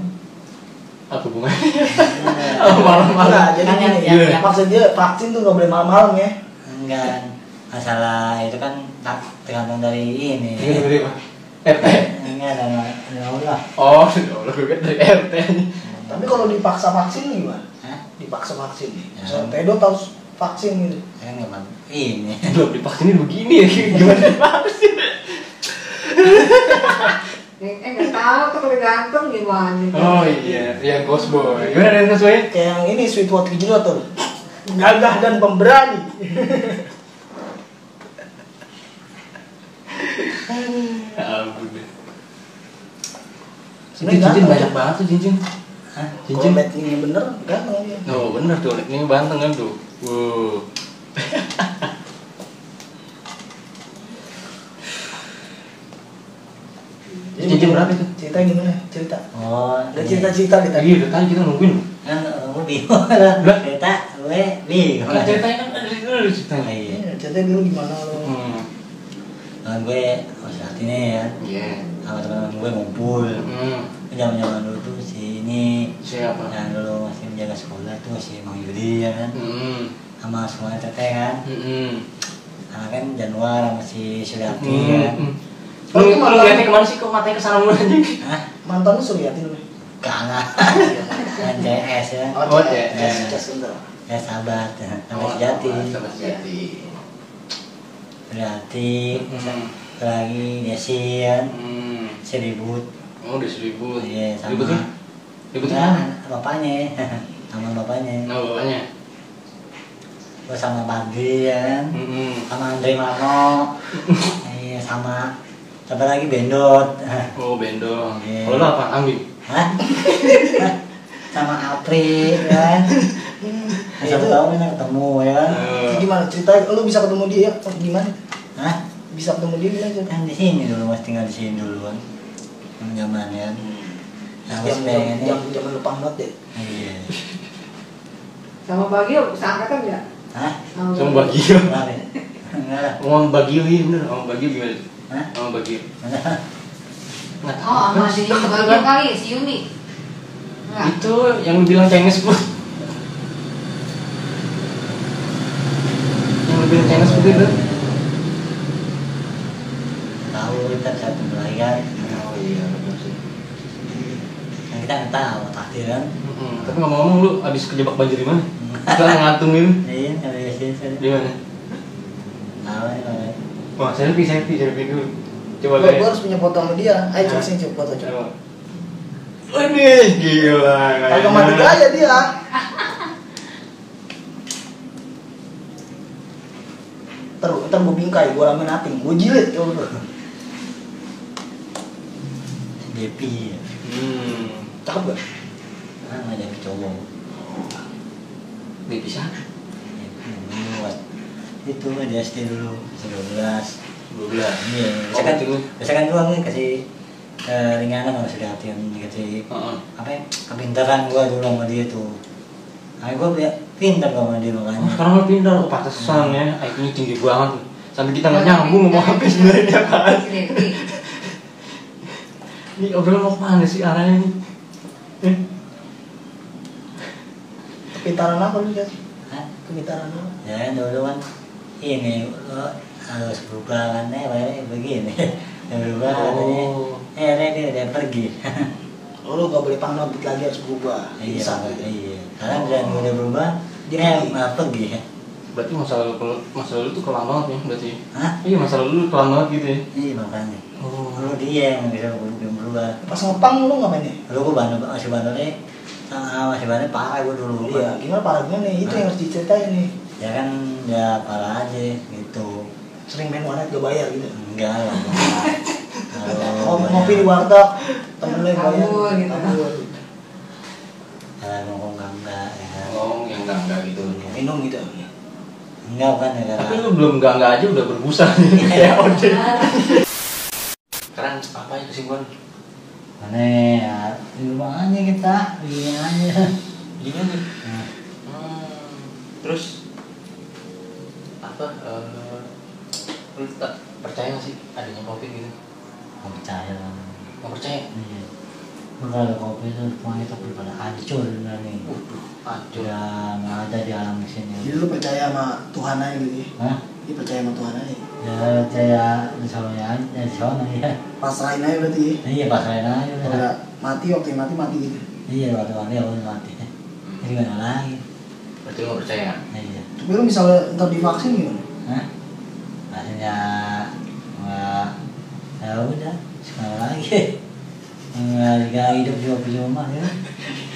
S1: Apa hubungannya? (laughs) Oh, malam-malam.
S2: Enggak, Iya. jadi gini.
S1: Iya.
S2: ya, Maksud dia vaksin tuh nggak boleh malam-malam ya.
S4: Enggak. Masalah itu kan tak tergantung dari ini.
S1: Ini Iya, dari apa? RT.
S4: Enggak dari dari Allah.
S1: Oh, (laughs) ya Allah gue dari RT.
S2: Tapi kalau dipaksa vaksin gimana?
S4: Hah?
S2: Dipaksa vaksin nih.
S4: Ya.
S2: Misalnya pedot harus vaksin gitu.
S4: Saya Ya nggak mau ini.
S1: Belum divaksinin begini ya? (laughs) Gimana divaksin?
S5: Eh, eh, nggak tahu tuh kalau ganteng gimana?
S1: Oh iya, yang ghost boy. Gimana dari sesuai?
S2: Kayak yang ini Sweetwater Gejrot tuh. Gagah dan pemberani.
S1: Ampun deh.
S2: Sebenarnya
S1: cincin
S2: ganteng.
S1: banyak banget tuh cincin.
S4: Hah?
S2: Kalau
S1: Cincin.
S2: matchingnya bener, ya. ganteng dia.
S1: Oh bener tuh, ini banteng kan tuh. Wow. Jadi cincin berapa itu?
S2: Cerita gimana? Cerita.
S4: Oh,
S2: Ada
S4: ini.
S2: cerita-cerita kita.
S1: Iya, udah tadi kita nungguin.
S4: kan gue bingung (laughs) lah
S1: Lah?
S4: cerita gue bingung
S1: Kalau ceritanya kan ada dulu ada ceritanya.
S4: iya
S2: Iya, Ceritanya dulu gimana lo?
S1: Hmm.
S4: kan gue harus hati nih ya
S1: Iya.
S4: sama teman-teman gue ngumpul
S1: Hmm.
S4: zaman zaman dulu tuh si ini
S1: Siapa?
S4: yang dulu masih menjaga sekolah tuh si Mang Yudi ya kan
S1: Hmm.
S4: sama semua teteh kan
S1: Hmm.
S4: sama kan Januar sama si Suriati ya kan
S1: Hmm. Lu
S2: Oh,
S1: lu
S2: itu malah-
S1: liatnya kemana sih? Kok matanya kesana mulu aja?
S4: Hah?
S2: Mantannya Suryati namanya.
S1: (laughs)
S4: kangen kan CS ya
S1: Oh, CS.
S2: CS. CS bentar.
S4: ya sahabat ya. sama si Jati
S1: Sama sejati.
S2: Iya.
S4: Suriati
S1: Hmm.
S4: satu lagi Desi ya kan
S1: Hmm.
S4: si Ribut
S1: Oh, udah seribu.
S4: Iya, sama.
S1: Ribut kan? Ribut
S4: Ya,
S1: kan?
S4: bapaknya (laughs) sama bapaknya
S1: Nah, bapaknya.
S4: gue sama Bandi ya kan
S1: Hmm.
S4: sama Andre Mano iya sama siapa lagi Bendot (laughs)
S1: Oh bendong.
S4: Iya.
S1: Kalau lu apa? Kambing.
S4: Hah? (laughs) sama Apri ya kan
S1: Nah,
S4: siapa
S2: Itu-
S4: tahu kan ketemu ya kan
S1: Eh,
S2: Gimana ceritanya? Lo bisa ketemu dia ya? Oh, Gimana?
S4: Hah?
S2: Bisa ketemu dia gimana
S1: Nah,
S2: cerita?
S4: kan di sini dulu mas tinggal di sini dulu kan zaman ya kan nah,
S2: Yang
S4: gue
S2: yang
S4: pengennya
S2: yang zaman depan banget deh.
S4: iya
S5: Sama Bagio, seangkatan nggak?
S4: Hah?
S5: Sama
S1: sama Bagio.
S4: Enggak ya? Enggak lah
S1: Ngomong Bagio iya bener. Ngomong Bagio gimana?
S4: Hah?
S1: Ngomong Bagio. Nggak tahu.
S5: Oh, sama si Bagio kali, si Yuni. Enggak.
S1: Itu yang lu bilang Chinese food. yang lu bilang Chinese food itu.
S4: tahu kita bisa ketemu lagi kan
S1: Oh iya benar sih.
S4: Nah, kita nggak tahu takdir
S1: (laughs)
S4: kan
S1: Hmm. Tapi ngomong-ngomong lu abis kejebak banjir di mana? Kita ngantungin
S4: Iya, kalau di sini
S1: di mana?
S4: Tahu ya, kalau
S1: Wah, selfie, selfie, selfie dulu. Coba lihat.
S2: Gue harus punya foto sama dia. Ayo coba
S1: Hah?
S2: sini coba foto coba.
S1: Coba. Waduh, gila.
S2: Kagak
S1: kayaknya.
S2: mandi aja
S1: (laughs)
S2: dia. Ter, ter gue bingkai, gue ramen ating, gue jilid coba tuh.
S4: Depi ya.
S1: Hmm.
S2: Cakep gak?
S4: Orang Kan ada cowok.
S1: Dia bisa.
S4: Depi dulu, Wat. Itu ada SD dulu, SD 12.
S1: 12.
S4: Iya,
S1: Oh,
S4: misalkan
S1: gitu.
S4: misalkan gua nih kasih eh, ringanan sama sudah hati dikasih
S1: Heeh.
S4: apa ya kepintaran gua dulu sama dia tuh Akhirnya gua punya pintar sama dia
S1: Oh, (laughs)
S4: makanya
S1: sekarang lo pindah lo pantesan ya, IQ-nya tinggi banget. Sampai kita nggak nyambung ngomong apa sebenarnya ini apaan.
S5: Si Devi.
S1: Ini obrolan mau kemana sih arahnya ini? Eh,
S2: Kepintaran apa lu dia?
S4: Hah?
S2: Kepintaran apa?
S4: ya kan dulu kan ini lo harus berubah kan eh bayarnya begini (laughs) Udah berubah katanya
S1: Oh.
S4: eh akhirnya dia udah pergi
S2: Oh, lu gak boleh pamit lagi harus berubah.
S4: iya
S2: Bisa
S4: Pak,
S2: gitu.
S4: iya karena udah udah berubah dia
S2: Jadi-
S4: eh, malah pergi
S1: berarti masa lalu masa lalu tuh kelam banget ya berarti.
S4: Hah?
S1: Iya masa lalu lu kelam banget gitu ya.
S4: iya makanya
S1: Oh.
S4: lu dia yang bisa belum belum berubah
S2: Pas ngepang lu gak mainnya?
S4: lu gua bandel masih bandelnya ah, masih bandel parah gua dulu
S2: Iya, gimana parahnya nih? Itu yang harus diceritain nih.
S4: ya kan ya parah aja gitu
S2: Sering main warnet gak bayar gitu.
S4: enggak lah Iya,
S2: Ngop- ngopi di warteg, temen lu yang bayar.
S5: Kabur gitu.
S2: Kabur.
S4: kalau ngomong enggak ya kan
S1: Oh, yang enggak enggak gitu.
S2: Minum gitu.
S4: enggak bukan ya
S1: Tapi
S4: karena
S1: lu belum enggak enggak aja udah berbusa nih (laughs) Ya, kayak ode. Sekarang apa ya kesimpulan?
S4: mana ya di rumah aja kita begini aja
S1: Gimana?
S4: Nah,
S1: Hmm, terus apa? eh, lu tak percaya nggak sih adanya covid gitu?
S4: nggak percaya lah
S1: Nggak percaya?
S4: iya Gua kalau kopi itu semuanya itu pada hancur udah nih
S1: Waduh, hancur.
S4: udah nggak ada di alam
S2: Jadi
S4: sini
S2: lu percaya sama Tuhan aja gitu ya?
S4: Hah?
S2: Dia percaya sama Tuhan aja.
S4: ya percaya di sana ya di sana ya
S2: Pasrahin aja berarti ya?
S4: iya pasarin aja
S2: Kalau
S4: udah
S2: nggak mati waktu yang mati mati gitu.
S4: iya waktu waktu ya udah mati jadi gimana lagi
S1: Berarti lu nggak percaya? (laughs)
S4: Nah, iya
S2: Tapi lu misalnya ntar divaksin gimana?
S4: Hah? Maksudnya nggak ya udah sekarang lagi nggak nggak hidup cuma percuma ya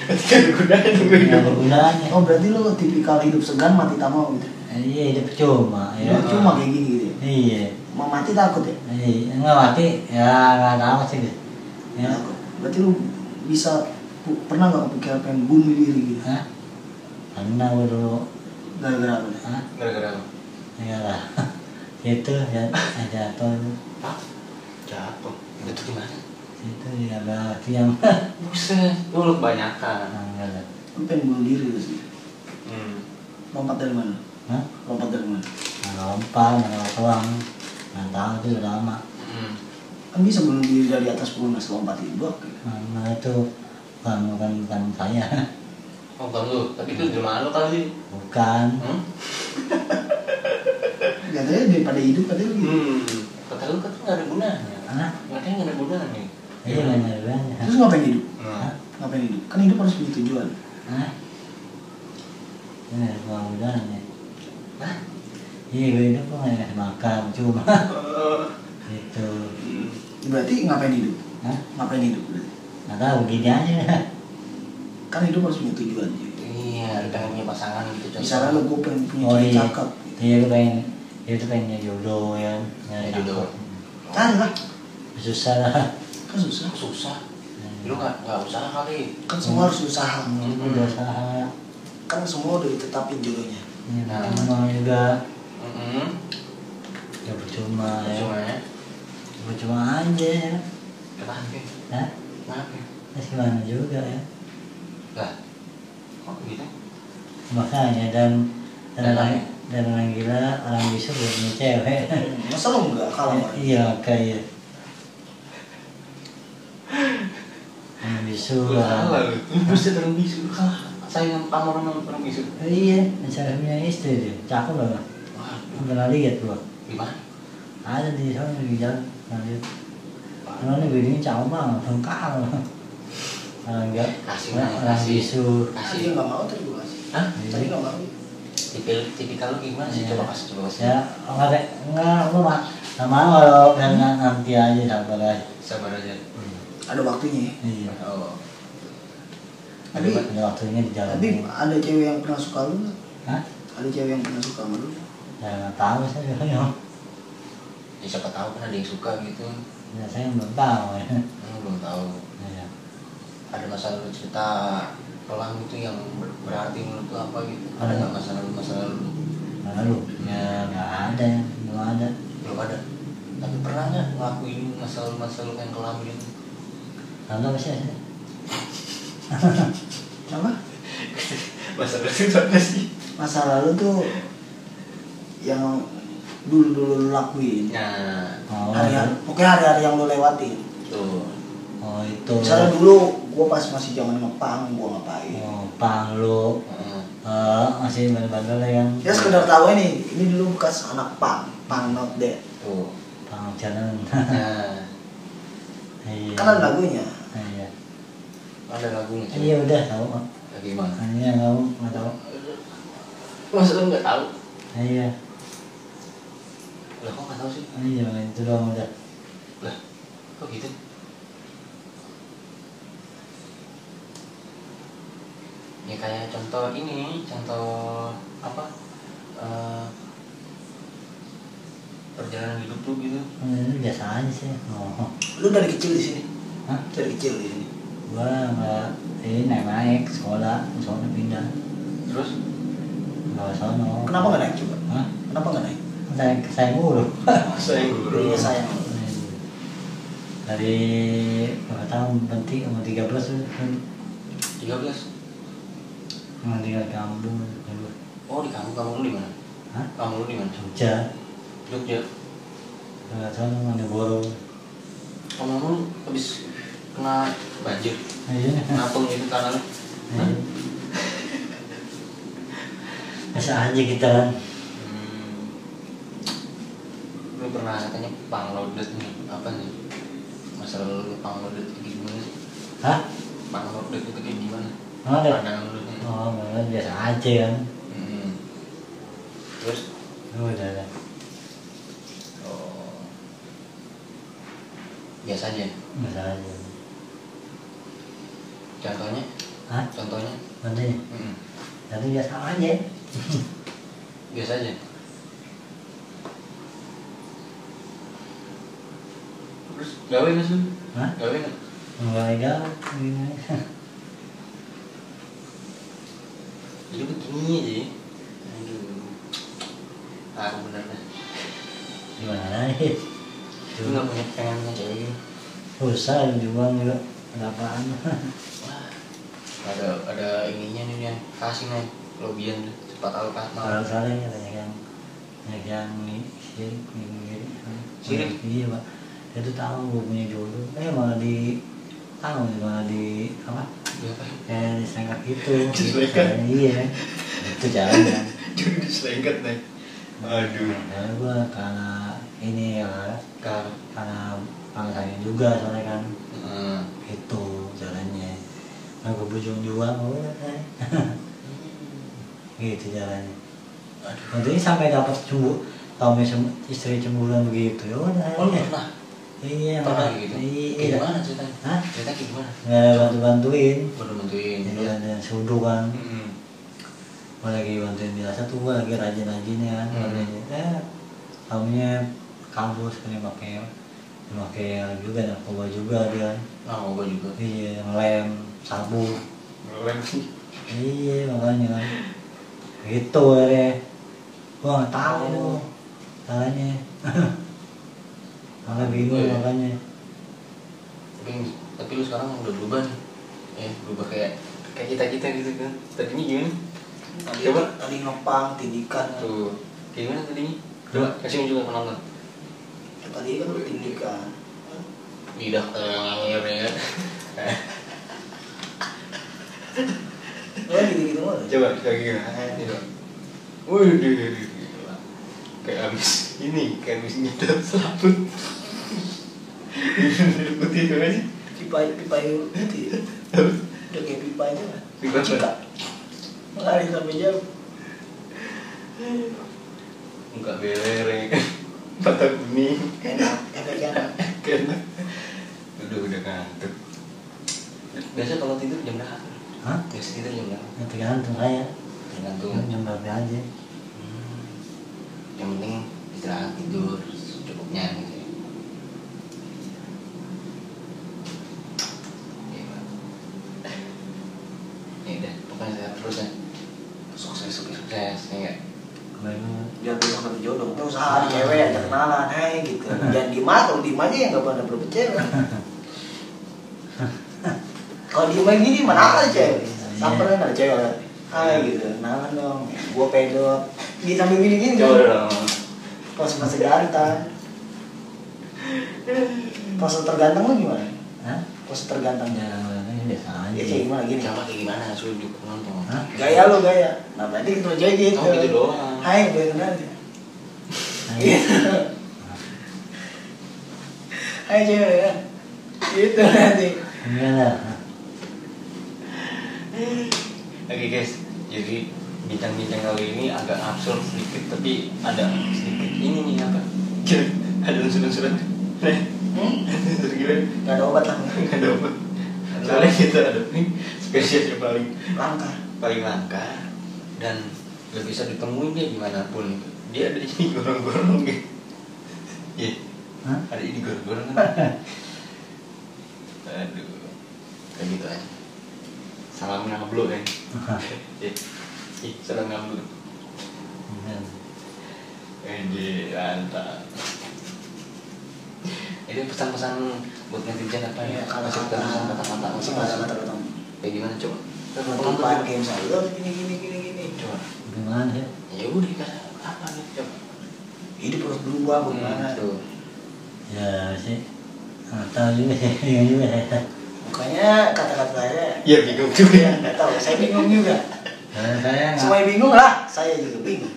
S1: Ketika bergunanya dulu
S4: nggak bergunanya
S2: Oh berarti lu tipikal hidup segan mati tamau gitu.
S4: iya hidup cuma ya
S2: Lu cuma kayak gini gitu. ya?
S4: iya
S2: Mau mati takut ya?
S4: iya nggak mati ya nggak tahu sih deh ya
S2: Takut. Berarti lu bisa pu- pernah nggak kepikiran pengen bunuh diri gitu?
S4: Hah? karena gua dulu
S2: Gara-gara apa?
S4: Hah?
S1: Gara-gara apa?
S4: ya lah (laughs) itu ya ada apa
S1: Jatuh. Jatuh gimana?
S4: itu ya nggak yang (laughs)
S1: Buset, lu lu kebanyakan.
S4: nggak lah
S2: Lu pengen bunuh diri lu sih.
S1: Hmm.
S2: Lompat dari mana?
S4: Hah?
S2: Lompat dari mana?
S4: nggak lompat nggak tuang nggak tahu tuh udah lama
S1: Hmm.
S2: Kan bisa bunuh diri dari atas pelunas lompat itu. Bok.
S4: Mama itu bukan bukan bukan saya,
S1: Oh, bukan lu. Tapi itu jelmaan lu kali.
S4: bukan.
S1: Hmm?
S2: ya, Katanya daripada hidup katanya lu gitu.
S1: Hmm. Kata lu kan nggak ada gunanya.
S4: Hah?
S1: Makanya nggak ada gunanya.
S4: Iya nggak nyariannya.
S2: Terus ngapain hidup?
S1: Nah,
S2: Ngapain hidup? Kan hidup harus punya tujuan.
S4: Hah? Ini gua udah nih.
S1: Hah?
S4: Iya gue hidup kok nggak ngasih makan cuma itu.
S1: Hmm.
S2: Ya, Berarti ngapain hidup?
S4: Hah?
S2: Ngapain hidup? berarti?
S4: Nggak tahu gini aja.
S2: Kan hidup harus punya tujuan. Ji.
S1: iya, lu pengen punya pasangan gitu. contoh.
S2: Misalnya lo gue pengen punya
S4: Oh
S2: cewek
S4: iya.
S2: cakep.
S4: Iya gue pengen iya tuh pengen nyari jodoh ya. Nyari
S1: Nyari jodoh.
S2: Cari Kan lah.
S4: Susah lah.
S2: Kan susah.
S1: susah. Lu nggak nggak usaha kali.
S2: Kan
S4: Hmm.
S2: semua harus usaha.
S4: Gue udah usaha.
S2: Kan semua udah ditetapin jodohnya.
S4: Ini
S1: Nah.
S4: cuma juga
S1: Hmm.
S4: ya percuma ya.
S1: Cuma ya.
S4: Percuma aja ya.
S1: Kenapa? ya?
S4: Hah?
S1: Kenapa? ya?
S4: Terus gimana juga ya.
S1: Lah. Kok gitu?
S4: makanya dan
S1: Dan
S4: dan orang dan orang gila orang bisa buat punya cewek
S2: Masa lo nggak
S4: (laughs)
S2: kalah sama dia?
S4: iya kayak orang bisu
S1: Lu
S4: lah
S1: kalah lu. Lu buset orang bisu. Lu kalah. Saingan kamu orang orang bisu.
S4: iya misalnya punya istri dia cakep lah
S1: Waduh.
S4: Lu pernah lihat gua
S1: Gimana?
S4: ada di sana di jalan pernah lihat karena ini bedanya cakep banget tengkal orang enggak
S1: Kasih,
S4: orang
S1: kasih.
S4: bisu
S2: Ah, dia
S1: Kasih.
S2: nggak mau tadi gue kasih.
S1: Hah?
S2: Tadi nggak mau.
S1: tipil tipikal lu gimana sih
S4: Iya.
S1: coba kasih coba kasih
S4: ya nggak kayak nggak gue mah nggak mau kalau dan nanti aja sabar aja
S1: sabar aja
S2: ada waktunya ya.
S4: iya
S1: oh
S2: tapi
S4: ada waktunya di jalan
S2: tapi ada cewek yang pernah suka lu nggak?
S4: Hah?
S2: ada cewek yang pernah suka sama lu
S4: ya nggak tahu saya ya
S1: ya siapa tahu kan ada yang suka gitu
S4: ya saya belum tahu (laughs) ya
S1: Hmm, belum tahu
S4: Iya.
S1: ada masalah lu cerita pelan gitu yang ber- berarti menurut lu apa gitu ada
S4: Ada.
S1: nggak masalah lu masalah lu
S4: lalu ya nggak ada ya belum ada
S1: belum ada tapi pernah nggak ngelakuin masalah lu masalah lu yang kelam gitu
S4: lalu apa sih ada?
S2: apa
S1: masalah itu apa sih
S2: masa lalu tuh yang dulu dulu lu lakuin
S1: nah
S4: oh,
S2: hari pokoknya hari-hari yang lu lewatin
S1: tuh
S4: oh itu
S2: misalnya dulu gua pas masih zaman ngepang gua ngapain
S4: oh, pang lu
S1: Heeh.
S4: eh, masih bandel-bandel ya kan
S2: ya sekedar tahu ini ini dulu bekas anak pang pang not dead
S1: tuh
S4: pang jalan (laughs)
S1: nah
S4: iya
S2: kan ada lagunya
S4: iya
S1: ada lagunya coba.
S4: iya udah tahu kok
S1: Ya, gimana
S4: hanya tahu nggak tahu
S1: maksud lu nggak tahu
S4: iya
S1: lah kok nggak tahu sih
S4: iya itu doang udah
S1: lah kok gitu ya kayak contoh ini contoh apa eh, perjalanan hidup lu gitu
S4: ini biasa aja sih oh
S2: lu dari kecil di sini
S4: Hah?
S2: dari kecil di sini
S4: gua nggak ini naik naik sekolah sekolah pindah
S1: terus
S4: nggak sono
S2: kenapa nggak naik coba
S4: Hah?
S2: kenapa nggak naik
S4: saya saya mulu
S1: saya
S2: iya sayang
S4: dari berapa tahun berhenti sama tiga belas
S1: tiga belas
S4: sama tiga kampung dulu
S1: oh di kampung kampung lu di mana
S4: Hah?
S1: kampung lu di mana
S4: Jogja
S1: Jogja
S4: nggak sono Malioboro
S1: kampung lu habis kena banjir
S4: iya
S1: ngapung gitu tanah lu
S4: Iya. Masa aja kita kan
S1: Hmm. Lu pernah katanya pang loaded nih, apa nih? Masalah lu pang loaded itu gimana sih?
S4: Hah?
S1: Pang loaded itu kayak gimana?
S4: Nggak ada
S1: Pandangan lu nih.
S4: Oh, malah biasa aja kan
S1: Hmm. Terus
S4: Lu udah ada
S1: oh. Biasanya
S4: Biasa aja
S1: contohnya,
S4: Hah?
S1: contohnya.
S4: Nanti
S1: Hmm.
S4: Nanti biasa aja
S1: Biasa aja. Terus gawe nggak sih?
S4: Hah?
S1: Gawe nggak?
S4: Mulai galau gini.
S1: Jadi begini aja ya. Aduh. Aku bener dah.
S4: Gimana lagi
S1: Lu gak punya pengen punya cewek gitu?
S4: Susah dibuang juga Ada apaan
S1: Wah. Ada ada ininya nih yang kasih nih. Lobian tuh. cepat tahu kan
S4: Kalau
S1: mau.
S4: soalnya katanya kan Banyak yang ni- sirik Sirik
S1: Sirik?
S4: Iya pak Dia tuh tahu gue punya jodoh Eh malah di Tahu malah di Apa? (laughs)
S1: Siapa?
S4: Kayak disengat gitu
S1: Disengat?
S4: Kayak Iya Itu jalan kan.
S1: Jadi diselengket nih. Aduh.
S4: Karena gue karena ini ya
S1: Kar.
S4: karena pangsanya juga soalnya kan
S1: Heeh.
S4: itu jalannya nah gue bujung dua oh, eh. (laughs) gitu jalannya Untungnya sampai dapat cembu Tommy istri cemburuan begitu ya udah
S1: Oh lu pernah?
S4: iya
S1: Pernah
S4: mak-
S1: gitu? Kayak
S4: iya
S1: Gimana Iya. ceritanya?
S4: Hah?
S1: Cerita kayak gimana?
S4: nggak ada bantu bantuin
S1: Baru bantuin.
S4: jadi ada sudu kan
S1: Hmm.
S4: gue lagi bantuin biasa tuh gue lagi rajin rajinnya kan
S1: Hmm.
S4: rajin eh tahunya kampus kan pakai pakai juga narkoba juga dia kan
S1: Nah, mau gua juga.
S4: iya ngelem sabu
S1: Belum sih.
S4: iya makanya kan gitu akhirnya gue nggak tahu
S1: Oh.
S4: caranya malah bingung
S1: Iya.
S4: makanya
S1: tapi tapi lu sekarang udah berubah nih ya berubah kayak kayak kita kita gitu kan tadinya gimana
S2: tadi
S1: Coba.
S2: tadi ngepang tindikan kan.
S1: tuh kayak gimana tadinya coba kasih unjuk ke penonton
S2: Ya, tadi kan lu tindikan
S1: lidah ngalir ya (laughs) kan
S2: lo gitu gitu mulu
S1: coba Eh, kayak gimana coba waduh gila. kayak abis ini kayak abis ngidam selaput putih itu aja
S2: pipa pipa itu ya. udah kayak pipa aja lah
S1: Pipa apa?
S2: Cika. lari sampai jauh
S1: Muka belereng Mata kuning
S3: enak enak enak
S1: Kena Udah udah ngantuk Biasa kalau tidur jam berapa?
S4: Hah?
S1: Biasa tidur jam berapa?
S4: Ya, tergantung saya.
S1: Tergantung
S2: Iya.
S4: Jam berapa aja.
S1: Hmm. Yang penting istirahat tidur cukupnya gitu ya. Iya, Pak. Ya udah, pokoknya sehat terus ya. Sukses, sukses, sukses, ya nggak?
S4: Kemarin
S3: biar besok dapet jodoh
S2: Terus ah, cewek ajak kenalan, hai gitu. Jangan diem aja, kalau diem aja ya nggak pernah dapet cewek. Kalau diem aja gini mana ada cewek? Samperin ada cewek. Hai gitu, kenalan dong. Gue pedok. Di sambil gini gini.
S1: Coba
S2: Kan?
S1: dong.
S2: Pas masih ganteng. Pas terganteng lu gimana?
S4: Hah? Iya,
S2: Pas tergantengnya.
S4: Ya, ini biasa aja.
S2: Ya
S1: iya.
S2: kayak gimana gini?
S1: Coba kayak gimana? Suruh juga penonton.
S4: Hah?
S2: Gaya lu gaya. Nah berarti itu aja gitu.
S1: Oh, gitu doang.
S2: Hai, gue kenal ya.
S4: Nah,
S2: Gitu. Hai cewek ya. Gitu nanti.
S4: Enggak lah.
S1: Oke guys, jadi bincang-bincang kali ini agak absurd sedikit tapi ada sedikit ini nih apa? (laughs) ada unsur-unsur aneh. unsur gila
S2: Gak Hmm, ada obat lah.
S1: nggak dapet. Soalnya kita ada nih spesies yang paling
S2: Langka.
S1: paling langka dan gak bisa ditemuin dia dimanapun. Dia ada di gorong-gorong gitu. Iya,
S4: Hah?
S1: ada di gorong-gorong kan. Aduh, kayak gitu aja. Salam ngablu kan. Iya, Ih, salam ngablu.
S4: Enggak.
S1: Ini mantap. Ini pesan-pesan buat netizen apa ya?
S2: Iya, Kalau Iya,
S1: Masih
S2: kata
S1: pesan kata-kata masih
S2: kata
S1: masih
S2: kata kata.
S1: kayak gimana coba?
S2: Penutupan game saya. Gini gini gini gini.
S1: Coba.
S4: Gimana ya?
S1: Ya udah kata apa gitu coba? Hmm,
S2: Hidup harus berubah
S1: Gimana
S2: bagaimana?
S1: tuh?
S4: Ya sih. Nggak tahu juga ya. Bingung juga ya.
S2: Makanya kata-kata saya.
S1: Iya, bingung juga. Nah.
S2: Ya, nggak tahu. Saya bingung juga.
S4: Karena saya nggak-
S2: Semua bingung lah. Saya juga bingung.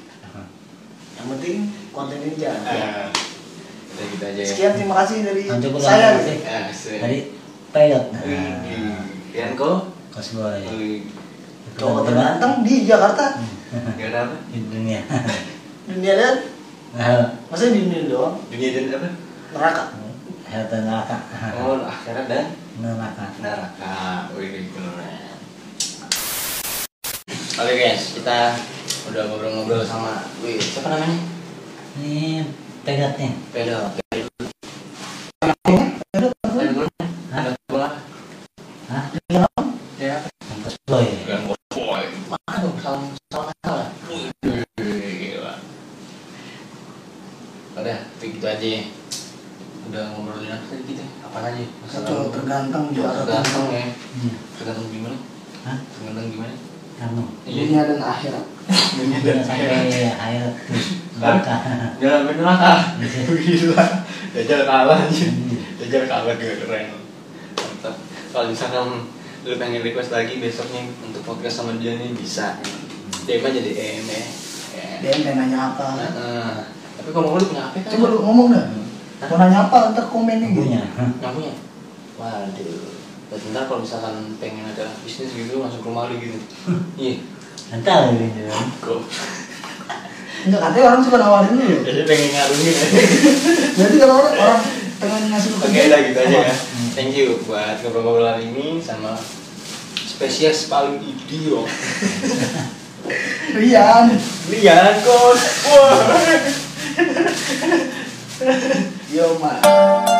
S2: Yang penting konten ini jalan.
S1: Ah, Udah gitu aja ya.
S2: Sekian terima kasih dari
S4: Nah, cukup
S2: saya.
S4: lama sih.
S1: Ah, sih.
S4: Tadi pilot. Nah,
S1: Dan kok?
S4: Kos gue ya.
S2: Cowok terganteng di Jakarta.
S4: Hmm.
S1: Gak ada apa?
S4: Di (laughs) dunia.
S2: Dunia dan
S4: Nah,
S2: maksudnya di dunia doang.
S1: Dunia dan apa?
S2: Neraka.
S4: Harta neraka.
S1: Oh, akhirat dan
S4: Neraka.
S1: neraka. Wih, Ah, keren. Oke guys, kita udah ngobrol-ngobrol sama Wih, siapa namanya?
S4: Ini pegat nih.
S1: Pedok.
S4: Hah? Hah?
S1: Ya.
S4: Kos gue ya.
S1: Bukan boy. Mana dong salam salam nakal ya? Wih, gila. Udah, gitu aja ya. Udah ngobrolin apa tadi kita? Apa aja?
S2: Cowok terganteng di Jakarta.
S1: Tergantung ya.
S2: Hmm.
S4: Iya.
S1: Tergantung gimana?
S4: Hah?
S1: Tergantung gimana?
S4: Kamu.
S1: Iya.
S2: dan akhirat.
S1: (laughs) Dunia
S4: Udah sampai air neraka.
S1: Jalan neraka. Ah, Gila. Dajjal kalah anjir. Dajjal kalah keren. Mantap. Kalau misalkan lu pengen request lagi besoknya untuk podcast sama dia nih bisa. DM aja DM ya. Ya.
S2: Dia yang nanya apa?
S1: Nah, eh. Tapi kalau lu punya HP kan?
S2: Coba lu ngomong dah. Mau nanya apa ntar komennya gitu.
S4: Punya.
S1: Nggak punya. Waduh. Dan ntar kalau misalkan pengen ada bisnis gitu langsung ke rumah lu
S2: (laughs)
S1: gitu. Iya.
S4: Entar gitu.
S1: Kok.
S2: Enggak katanya orang suka nawarin lu.
S1: Jadi pengen ya. ngarungin aja.
S2: Jadi kalau orang orang pengen ngasih lu
S1: Oke
S2: kerja,
S1: udah gitu aja
S2: apa?
S1: ya. Thank you buat ngobrol-ngobrol hari ini sama spesies paling idiot.
S2: Rian.
S1: Lian kos. Wah.
S2: Yo, Mak.